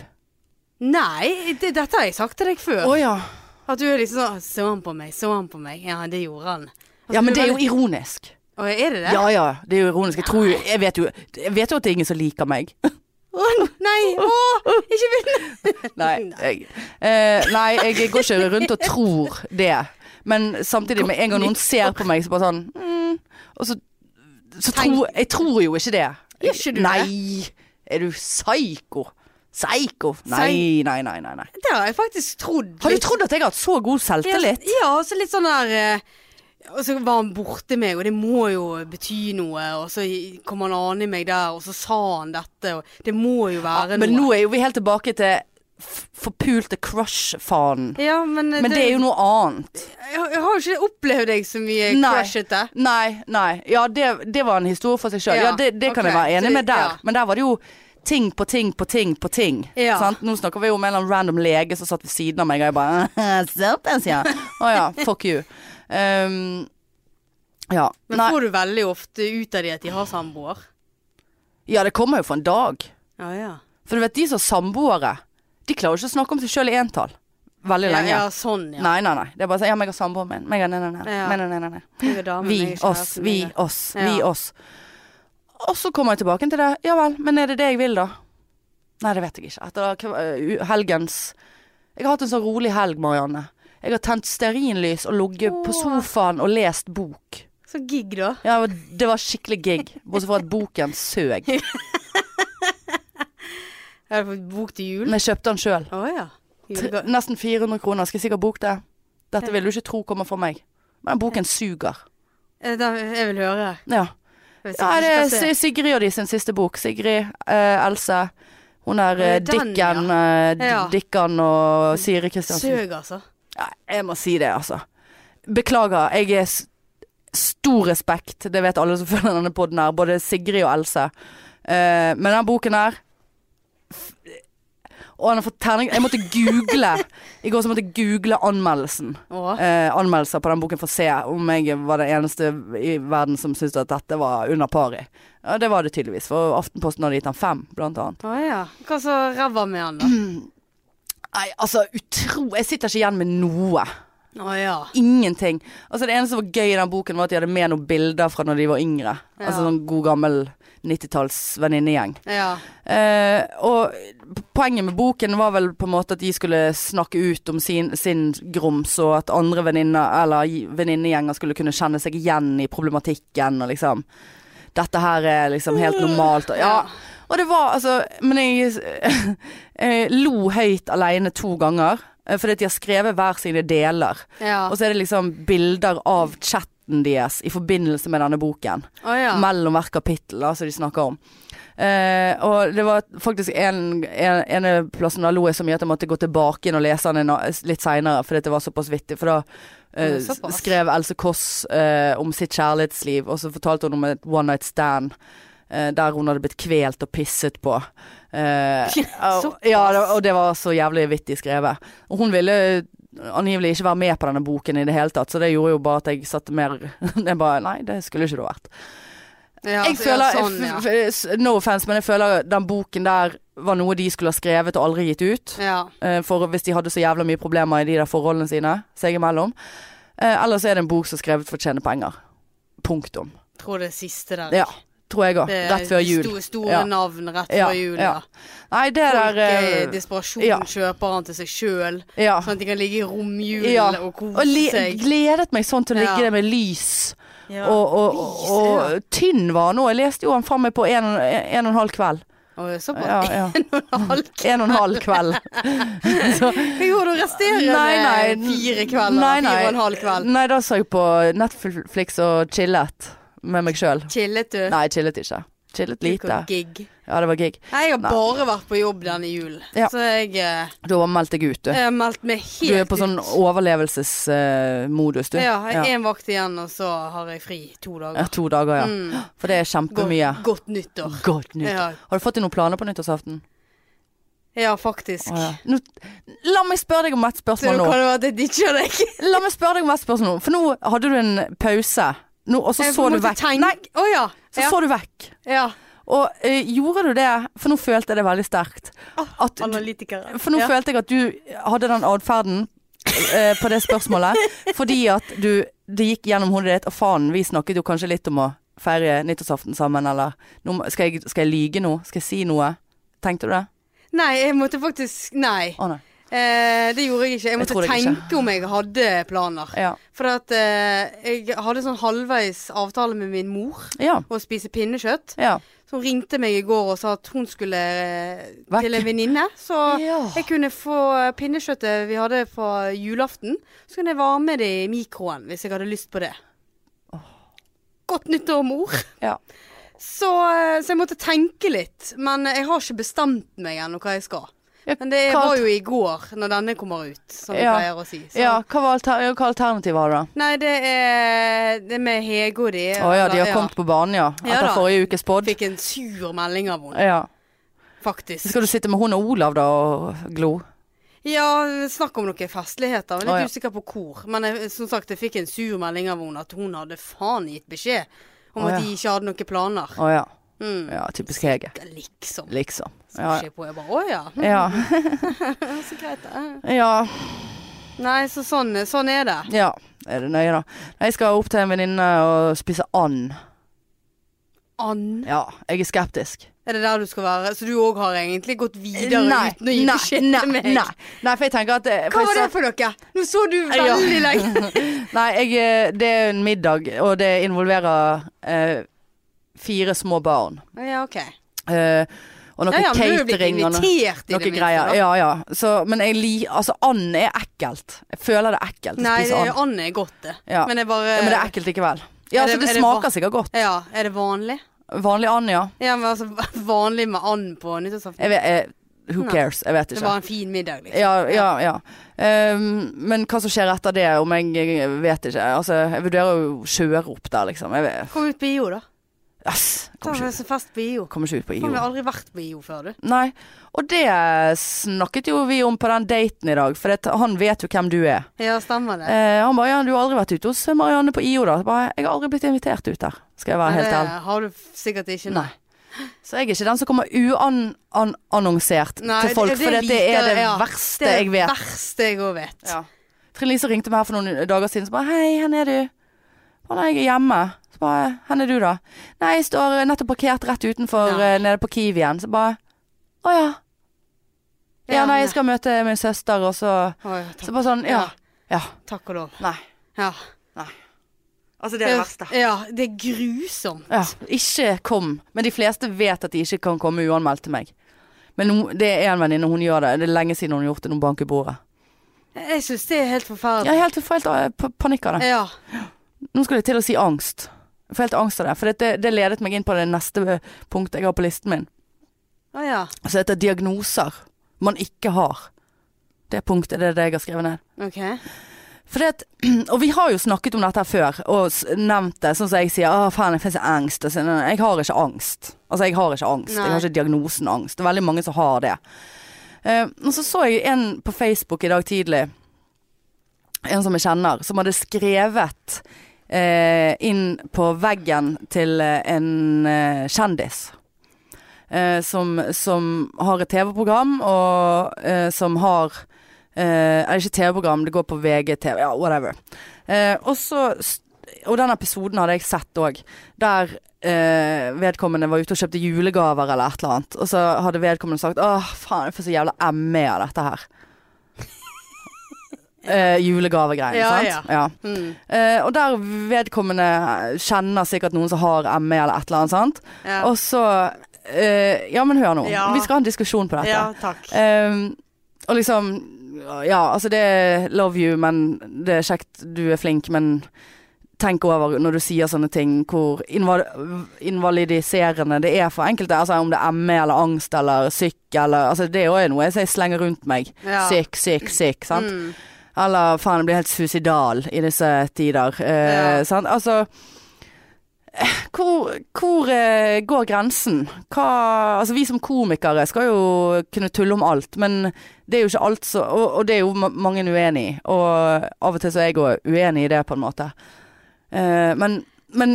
[SPEAKER 2] Nei, det, dette har jeg sagt til deg før.
[SPEAKER 1] ja.
[SPEAKER 2] At du er liksom sånn Så han på meg, så han på meg. Ja, det gjorde han. Altså,
[SPEAKER 1] men
[SPEAKER 2] du
[SPEAKER 1] det er jo
[SPEAKER 2] veldig-
[SPEAKER 1] ironisk.
[SPEAKER 2] Å, er det det?
[SPEAKER 1] Ja ja, det er jo ironisk. Jeg, tror jo, jeg, vet, jo, jeg vet jo at det er ingen som liker meg.
[SPEAKER 2] Å, nei! Å! Ikke begynn!
[SPEAKER 1] Nei, jeg, eh, nei, jeg går ikke rundt og tror det. Men samtidig, med en gang noen ser på meg, så bare sånn mm, Og så, så tror Jeg tror jo ikke det.
[SPEAKER 2] Gjør ikke du
[SPEAKER 1] nei. Er du psyko? Psyko? Nei, nei, nei, nei, nei.
[SPEAKER 2] Det har jeg faktisk trodd.
[SPEAKER 1] Har du
[SPEAKER 2] litt.
[SPEAKER 1] trodd at jeg har hatt så god selvtillit?
[SPEAKER 2] Ja, og så litt sånn der eh, Og så var han borte meg, og det må jo bety noe. Og så kom han an i meg der, og så sa han dette, og det må jo være
[SPEAKER 1] Men
[SPEAKER 2] noe.
[SPEAKER 1] nå er jo vi helt tilbake til f- forpulte crush-fanen.
[SPEAKER 2] ja, men, eh,
[SPEAKER 1] Men det er jo noe annet.
[SPEAKER 2] jeg, har- jeg har jo ikke opplevd deg så mye
[SPEAKER 1] Nei.
[SPEAKER 2] crushete.
[SPEAKER 1] Nei, nei. Ja, det, det var en historie for seg sjøl. Ja,
[SPEAKER 2] Ja,
[SPEAKER 1] det, det kan
[SPEAKER 2] ok.
[SPEAKER 1] jeg være
[SPEAKER 2] Så
[SPEAKER 1] enig
[SPEAKER 2] det-
[SPEAKER 1] med der.
[SPEAKER 2] ja.
[SPEAKER 1] Men der var det jo ting på ting på ting på ting.
[SPEAKER 2] Ja.
[SPEAKER 1] Sant? Nå snakker vi jo om en eller annen random lege som satt ved siden av meg, og jeg bare Serpens, ja. Å ja, fuck you. Um, ja.
[SPEAKER 2] Men
[SPEAKER 1] Nei.
[SPEAKER 2] får du veldig ofte ut av de at de har samboer?
[SPEAKER 1] Ja, det kommer jo for en dag.
[SPEAKER 2] Ja, ja.
[SPEAKER 1] For du vet, de som har samboere, de klarer jo ikke å snakke om seg sjøl i entall. Veldig
[SPEAKER 2] Ja,
[SPEAKER 1] lenge.
[SPEAKER 2] ja, sånn, ja.
[SPEAKER 1] Nei, nei, nei. Det er bare sånn Ja, meg og samboeren min. Meg og nei, nei, nei.
[SPEAKER 2] Ja.
[SPEAKER 1] Nei, nei, nei, nei, nei.
[SPEAKER 2] Jeg er dame, men jeg er
[SPEAKER 1] Vi,
[SPEAKER 2] ikke
[SPEAKER 1] oss,
[SPEAKER 2] kjæresten
[SPEAKER 1] vi,
[SPEAKER 2] din.
[SPEAKER 1] oss,
[SPEAKER 2] Ja.
[SPEAKER 1] vi, oss. Og så kommer jeg tilbake til det. Ja vel, men er det det jeg vil, da? Nei, det vet jeg ikke. Etter kv- eh, helgens Jeg har hatt en sånn rolig helg, Marianne. Jeg har tent stearinlys og ligget på
[SPEAKER 2] Åh.
[SPEAKER 1] sofaen og lest bok.
[SPEAKER 2] Så gig, da.
[SPEAKER 1] Ja, og Det var skikkelig gig, bortsett fra at boken søg.
[SPEAKER 2] Jeg har fått bok til jul.
[SPEAKER 1] Men jeg kjøpte den sjøl.
[SPEAKER 2] Å ja. Julega-
[SPEAKER 1] Nesten 400 kroner. Skal jeg sikkert bok det. Dette vil du ikke tro kommer fra meg. Men den boken suger.
[SPEAKER 2] Eh, da- Jeg vil høre.
[SPEAKER 1] Ja.
[SPEAKER 2] Jeg vet
[SPEAKER 1] Ja, det er
[SPEAKER 2] ikke hva jeg skal se.
[SPEAKER 1] Si- Sigrid og de sin siste bok. Sigrid, eh, Else. Hun er eh,
[SPEAKER 2] Den, ja.
[SPEAKER 1] Dikken, eh, D-
[SPEAKER 2] Ja. Mm.
[SPEAKER 1] Dikkan og
[SPEAKER 2] altså.
[SPEAKER 1] Siri Kristiansen.
[SPEAKER 2] Søg, altså.
[SPEAKER 1] Ja, jeg må si det, altså. Beklager, jeg er s- stor respekt, det vet alle som følger denne podden her, både Sigrid og Else. Eh, men den boken her f- Å, den har fått terning Jeg måtte google I går så måtte jeg google anmeldelsen.
[SPEAKER 2] Åh.
[SPEAKER 1] Eh, anmeldelser på den boken for å se om jeg var den eneste i verden som syntes at dette var under pari. Ja, det var det tydeligvis, for Aftenposten hadde gitt den fem, blant annet.
[SPEAKER 2] Å ja. Hva så ræva med han, da?
[SPEAKER 1] Nei, altså utro Jeg sitter ikke igjen med noe.
[SPEAKER 2] Å ja.
[SPEAKER 1] ingenting. Altså Det eneste som var gøy i den boken, var at de hadde med noen bilder fra når de var yngre.
[SPEAKER 2] Ja.
[SPEAKER 1] Altså sånn god gammel 90-talls venninnegjeng.
[SPEAKER 2] Ja.
[SPEAKER 1] Eh, og p- poenget med boken var vel på en måte at de skulle snakke ut om sin, sin grums, og at andre venninner eller i- venninnegjenger skulle kunne kjenne seg igjen i problematikken og liksom Dette her er liksom helt normalt. Og, ja. og det var altså Men jeg eh, lo høyt aleine to ganger, eh, fordi at de har skrevet hver sine deler.
[SPEAKER 2] Ja.
[SPEAKER 1] Og så er det liksom bilder av chatten deres i forbindelse med denne boken.
[SPEAKER 2] Å ja.
[SPEAKER 1] Mellom hvert kapittel da, som de snakker om. Eh, og det var faktisk en, en ene plassen da lo jeg så mye at jeg måtte gå tilbake inn og lese den en, litt seinere, fordi at det var såpass vittig. For da eh,
[SPEAKER 2] Mm, såpass.
[SPEAKER 1] skrev Else Kåss eh, om sitt kjærlighetsliv, og så fortalte hun om et one night stand. eh, Der hun hadde blitt kvelt og pisset på. Eh, og,
[SPEAKER 2] Såpass.
[SPEAKER 1] ja, det- og det var så jævlig vittig skrevet. Og hun ville eh, angivelig ikke være med på denne boken i det hele tatt, så det gjorde jo bare at jeg satte mer Jeg bare Nei, det skulle ikke du vært.
[SPEAKER 2] ja
[SPEAKER 1] Jeg
[SPEAKER 2] så-
[SPEAKER 1] føler,
[SPEAKER 2] ja, sånn, ja.
[SPEAKER 1] f- f- No offense, men jeg føler den boken der var noe de skulle ha skrevet og aldri gitt ut.
[SPEAKER 2] ja.
[SPEAKER 1] Eh, For hvis de hadde så jævla mye problemer i de der forholdene sine seg imellom. Eh, Ellers er det en bok som er skrevet for å tjene penger. Punktum.
[SPEAKER 2] Tror det er siste der.
[SPEAKER 1] Ja, tror jeg òg.
[SPEAKER 2] Det er
[SPEAKER 1] Rett før jul.
[SPEAKER 2] Store, store
[SPEAKER 1] Ja.
[SPEAKER 2] navn rett
[SPEAKER 1] Ja,
[SPEAKER 2] før jul.
[SPEAKER 1] ja.
[SPEAKER 2] Ja.
[SPEAKER 1] Nei, det
[SPEAKER 2] Folk
[SPEAKER 1] der
[SPEAKER 2] eh, i
[SPEAKER 1] eh,
[SPEAKER 2] desperasjon
[SPEAKER 1] ja.
[SPEAKER 2] kjøper han til seg sjøl,
[SPEAKER 1] Ja.
[SPEAKER 2] sånn at de kan ligge i romjulen
[SPEAKER 1] Ja.
[SPEAKER 2] og
[SPEAKER 1] Og
[SPEAKER 2] kose
[SPEAKER 1] le
[SPEAKER 2] seg.
[SPEAKER 1] gledet meg sånn til å ligge
[SPEAKER 2] Ja.
[SPEAKER 1] der med lys.
[SPEAKER 2] Ja.
[SPEAKER 1] Og, og, og, og tynn var han nå. Jeg leste jo han faen meg på en, en og en halv kveld.
[SPEAKER 2] Å, Såpass.
[SPEAKER 1] Ja, ja.
[SPEAKER 2] Alt.
[SPEAKER 1] En og en halv kveld.
[SPEAKER 2] Hva gjorde du resterende
[SPEAKER 1] Nei, nei.
[SPEAKER 2] fire kvelder?
[SPEAKER 1] Nei, nei.
[SPEAKER 2] Fire og en halv kveld?
[SPEAKER 1] Nei, da så jeg på Netflix og chillet med meg sjøl.
[SPEAKER 2] Chillet du?
[SPEAKER 1] Nei, chillet ikke. Chillet lite.
[SPEAKER 2] Gikk og Gig.
[SPEAKER 1] Ja, det var gig.
[SPEAKER 2] Nei, jeg har
[SPEAKER 1] Nei.
[SPEAKER 2] bare vært på jobb denne julen,
[SPEAKER 1] Ja.
[SPEAKER 2] så jeg, eh,
[SPEAKER 1] Da meldte jeg ut, du.
[SPEAKER 2] jeg har meldt meg helt
[SPEAKER 1] Du er på sånn
[SPEAKER 2] ut.
[SPEAKER 1] overlevelsesmodus, du.
[SPEAKER 2] Ja, jeg har én vakt igjen, og så har jeg fri to
[SPEAKER 1] Ja,
[SPEAKER 2] dager.
[SPEAKER 1] To dager, ja.
[SPEAKER 2] Mm.
[SPEAKER 1] For det er
[SPEAKER 2] Godt,
[SPEAKER 1] kjempemye.
[SPEAKER 2] godt nyttår.
[SPEAKER 1] Godt nytt.
[SPEAKER 2] Ja,
[SPEAKER 1] Har du fått deg noen planer på nyttårsaften?
[SPEAKER 2] ja faktisk.
[SPEAKER 1] Å, ja. Nå, la meg spørre deg om et
[SPEAKER 2] Så
[SPEAKER 1] spørsmål
[SPEAKER 2] nå
[SPEAKER 1] nå.
[SPEAKER 2] kan det være at jeg ditcher deg.
[SPEAKER 1] La meg spørre deg om et spørsmål nå. For nå hadde du en pause, nå, og så
[SPEAKER 2] Jeg
[SPEAKER 1] så du
[SPEAKER 2] måtte
[SPEAKER 1] vekk.
[SPEAKER 2] tenke-
[SPEAKER 1] Nei,
[SPEAKER 2] Å ja.
[SPEAKER 1] så
[SPEAKER 2] ja.
[SPEAKER 1] så du vekk.
[SPEAKER 2] ja.
[SPEAKER 1] Og eh, gjorde du det, for nå følte jeg det veldig sterkt. At du,
[SPEAKER 2] Analytikere.
[SPEAKER 1] for nå
[SPEAKER 2] ja.
[SPEAKER 1] følte jeg at du hadde den atferden eh, på det spørsmålet. fordi at du Det gikk gjennom hodet ditt, og faen, vi snakket jo kanskje litt om å feire nyttårsaften sammen, eller nå, må- skal, jeg, skal jeg lyge nå? Skal jeg si noe? Tenkte du det?
[SPEAKER 2] Nei, jeg måtte faktisk Nei.
[SPEAKER 1] Å nei.
[SPEAKER 2] Eh, det gjorde jeg ikke. Jeg måtte
[SPEAKER 1] tror det ikke.
[SPEAKER 2] tenke om jeg hadde planer.
[SPEAKER 1] Ja.
[SPEAKER 2] For at eh, jeg hadde sånn halvveis avtale med min mor
[SPEAKER 1] Ja.
[SPEAKER 2] å spise pinnekjøtt.
[SPEAKER 1] Ja.
[SPEAKER 2] Så hun ringte meg i går og sa at hun skulle eh,
[SPEAKER 1] Vekk.
[SPEAKER 2] til en venninne. Så
[SPEAKER 1] ja.
[SPEAKER 2] jeg kunne få pinnekjøttet vi hadde fra julaften. Så kunne jeg varme det i mikroen hvis jeg hadde lyst på det. Godt nyttår, mor.
[SPEAKER 1] Ja.
[SPEAKER 2] Så, eh, så jeg måtte tenke litt. Men jeg har ikke bestemt meg ennå hva jeg skal.
[SPEAKER 1] Ja,
[SPEAKER 2] Men det
[SPEAKER 1] hva-
[SPEAKER 2] var jo i går, når denne kommer ut, som vi
[SPEAKER 1] Ja.
[SPEAKER 2] pleier å si. Så.
[SPEAKER 1] ja hva, var alter, ja, hva alternativet var det? da?
[SPEAKER 2] Nei, det er, det er med Hege og de.
[SPEAKER 1] Å ja, de har
[SPEAKER 2] eller-
[SPEAKER 1] kommet på banen, ja.
[SPEAKER 2] Ja
[SPEAKER 1] Etter
[SPEAKER 2] da.
[SPEAKER 1] forrige ukes pod.
[SPEAKER 2] Fikk en sur melding av henne,
[SPEAKER 1] Ja. Så
[SPEAKER 2] faktisk.
[SPEAKER 1] skal du sitte med hun og Olav da og glo?
[SPEAKER 2] Ja, snakk om noen festligheter. Jeg
[SPEAKER 1] Å,
[SPEAKER 2] er litt
[SPEAKER 1] ja.
[SPEAKER 2] usikker på hvor. Men jeg, som sagt, jeg fikk en sur melding av henne at hun hadde faen gitt beskjed om
[SPEAKER 1] Å,
[SPEAKER 2] at
[SPEAKER 1] ja.
[SPEAKER 2] de ikke hadde noen planer.
[SPEAKER 1] Å ja.
[SPEAKER 2] Mm.
[SPEAKER 1] ja. Typisk Hege.
[SPEAKER 2] Liksom.
[SPEAKER 1] Liksom. Ja.
[SPEAKER 2] Ja. På. Jeg bare, å ja.
[SPEAKER 1] Ja.
[SPEAKER 2] Så greit, det.
[SPEAKER 1] ja.
[SPEAKER 2] Nei, så sånn, sånn er det.
[SPEAKER 1] Ja. Er det nøye, da? Jeg skal opp til en venninne og spise and.
[SPEAKER 2] Ann.
[SPEAKER 1] Ja, jeg er skeptisk.
[SPEAKER 2] Er det der du skal være? Så du òg har egentlig gått videre
[SPEAKER 1] Nei,
[SPEAKER 2] uten å
[SPEAKER 1] nei,
[SPEAKER 2] gi
[SPEAKER 1] nei,
[SPEAKER 2] beskjed til
[SPEAKER 1] nei,
[SPEAKER 2] meg?
[SPEAKER 1] Nei, for jeg tenker at eh, for
[SPEAKER 2] Hva var det
[SPEAKER 1] jeg,
[SPEAKER 2] for noe? Nå så du
[SPEAKER 1] Ja.
[SPEAKER 2] veldig lenge.
[SPEAKER 1] sa- Nei, jeg, eh, det er en middag, og det involverer eh, fire små barn.
[SPEAKER 2] Ja, ok.
[SPEAKER 1] Eh, og noe
[SPEAKER 2] Ja, ja, men du er jo blitt
[SPEAKER 1] catering og noe,
[SPEAKER 2] invitert i
[SPEAKER 1] noe
[SPEAKER 2] det minste.
[SPEAKER 1] greier.
[SPEAKER 2] da.
[SPEAKER 1] Ja, ja. Så, men jeg li... Altså, and er ekkelt. Jeg føler det er ekkelt å
[SPEAKER 2] Nei,
[SPEAKER 1] spise and.
[SPEAKER 2] and er godt, det.
[SPEAKER 1] Ja.
[SPEAKER 2] Men det er bare
[SPEAKER 1] Ja, men det er ekkelt likevel. Ja,
[SPEAKER 2] Er det-
[SPEAKER 1] altså, det,
[SPEAKER 2] er det
[SPEAKER 1] smaker
[SPEAKER 2] va-
[SPEAKER 1] sikkert godt.
[SPEAKER 2] Ja, er det vanlig?
[SPEAKER 1] Vanlig and, ja.
[SPEAKER 2] Ja, men altså vanlig med and på nyttårsaften.
[SPEAKER 1] Jeg vet, jeg, who
[SPEAKER 2] Nei.
[SPEAKER 1] cares? Jeg vet
[SPEAKER 2] Det
[SPEAKER 1] ikke.
[SPEAKER 2] var en fin middag, liksom.
[SPEAKER 1] Ja, ja, ja. Ehm, men hva som skjer etter det, om jeg, jeg vet ikke. Altså, jeg vurderer jo å kjøre opp der, liksom. Jeg vet.
[SPEAKER 2] Kom ut på IO, da.
[SPEAKER 1] Yes,
[SPEAKER 2] Ta
[SPEAKER 1] kommer ikke,
[SPEAKER 2] oss en fest på IO.
[SPEAKER 1] ut- kommer ikke ut på
[SPEAKER 2] Faen, Vi
[SPEAKER 1] IO.
[SPEAKER 2] har aldri vært på IO før, du.
[SPEAKER 1] Nei. Og det snakket jo vi om på den daten i dag, for det, han vet jo hvem du er.
[SPEAKER 2] Ja, stemmer det.
[SPEAKER 1] Eh, han bare 'ja, du har aldri vært ute hos Marianne på IO', da. Jeg Bare, jeg har aldri blitt invitert ut der, skal jeg være
[SPEAKER 2] Men
[SPEAKER 1] helt ærlig.
[SPEAKER 2] det har du sikkert ikke nå.
[SPEAKER 1] Nei. Så jeg er ikke den som kommer uannonsert
[SPEAKER 2] Nei,
[SPEAKER 1] til folk,
[SPEAKER 2] det- det
[SPEAKER 1] for det, er
[SPEAKER 2] liker-
[SPEAKER 1] det
[SPEAKER 2] ja.
[SPEAKER 1] verste
[SPEAKER 2] Det er
[SPEAKER 1] jeg vet.
[SPEAKER 2] verste jeg òg vet.
[SPEAKER 1] Ja. Trine Lise ringte meg her for noen dager siden og bare 'Hei, hvor er du?' Bare 'Nei, jeg er hjemme'. Så bare 'Hvor er du, da?' 'Nei, jeg står nettopp parkert rett utenfor
[SPEAKER 2] Nei.
[SPEAKER 1] eh, nede på Kiwien'. Så bare 'Å ja'. Ja, nei, jeg skal møte min søster, og så
[SPEAKER 2] Å, ja,
[SPEAKER 1] Så
[SPEAKER 2] takk,
[SPEAKER 1] bare sånn, ja. Ja.
[SPEAKER 2] takk og lov.
[SPEAKER 1] Nei.
[SPEAKER 2] Ja.
[SPEAKER 1] Altså,
[SPEAKER 2] Ja, det er grusomt.
[SPEAKER 1] Ja, ikke kom. Men de fleste vet at de ikke kan komme uanmeldt til meg. Men hun- det er en venninne, hun gjør det. Det er lenge siden hun har gjort det, hun banker i bordet.
[SPEAKER 2] Jeg syns det er helt
[SPEAKER 1] Jeg
[SPEAKER 2] forferdelig.
[SPEAKER 1] er helt, helt eh, pa- panikk av det.
[SPEAKER 2] Ja.
[SPEAKER 1] Nå skal jeg til å si angst. Jeg får helt angst av det. For det, det ledet meg inn på det neste punktet jeg har på listen min.
[SPEAKER 2] Å ja.
[SPEAKER 1] Så heter diagnoser man ikke har. Det punktet det er det jeg har skrevet ned.
[SPEAKER 2] OK.
[SPEAKER 1] For det at, og vi har jo snakket om dette her før, og s- nevnt det. Sånn som jeg sier 'Å, faen, jeg får så angst'. Og så, nei, nei, jeg har ikke angst. Altså, jeg har ikke angst. Jeg har
[SPEAKER 2] Nei.
[SPEAKER 1] ikke diagnosen angst. Det er veldig mange som har det. Eh, og så så jeg en på Facebook i dag tidlig, en som jeg kjenner, som hadde skrevet eh, inn på veggen til eh, en eh, kjendis. Eh, som, som har et TV-program, og eh, som har Eh, er ikke TV-program, det går på VGTV, ja, whatever. Eh, og så s- Og den episoden hadde jeg sett òg, der eh, vedkommende var ute og kjøpte julegaver eller et eller annet, og så hadde vedkommende sagt åh, faen, jeg får så jævla ME av dette her. Eh, julegavegreiene,
[SPEAKER 2] Ja,
[SPEAKER 1] sant?
[SPEAKER 2] ja.
[SPEAKER 1] ja.
[SPEAKER 2] Mm.
[SPEAKER 1] Eh, og der vedkommende kjenner sikkert noen som har ME eller et eller annet, sant.
[SPEAKER 2] Ja.
[SPEAKER 1] Og så eh, Ja, men hør nå.
[SPEAKER 2] Ja.
[SPEAKER 1] Vi skal ha en diskusjon på dette.
[SPEAKER 2] ja, takk.
[SPEAKER 1] Ehm, og liksom Ja, altså det er love you, men det er kjekt, du er flink, men tenk over når du sier sånne ting, hvor inval invalidiserende det er for enkelte. Altså om det er ME eller angst eller syk eller Altså det er jo noe jeg sier slenger rundt meg.
[SPEAKER 2] Ja.
[SPEAKER 1] Syk, syk, syk. Sant?
[SPEAKER 2] Mm.
[SPEAKER 1] Eller faen, jeg blir helt suicidal i disse tider. Eh,
[SPEAKER 2] Ja.
[SPEAKER 1] Sant? Altså eh, hvor, hvor eh, går grensen? Hva, altså Vi som komikere skal jo kunne tulle om alt, men det er jo ikke alt så Og, og det er jo ma- mange uenig i, og av og til så er jeg òg uenig i det, på en måte. Eh, men, men,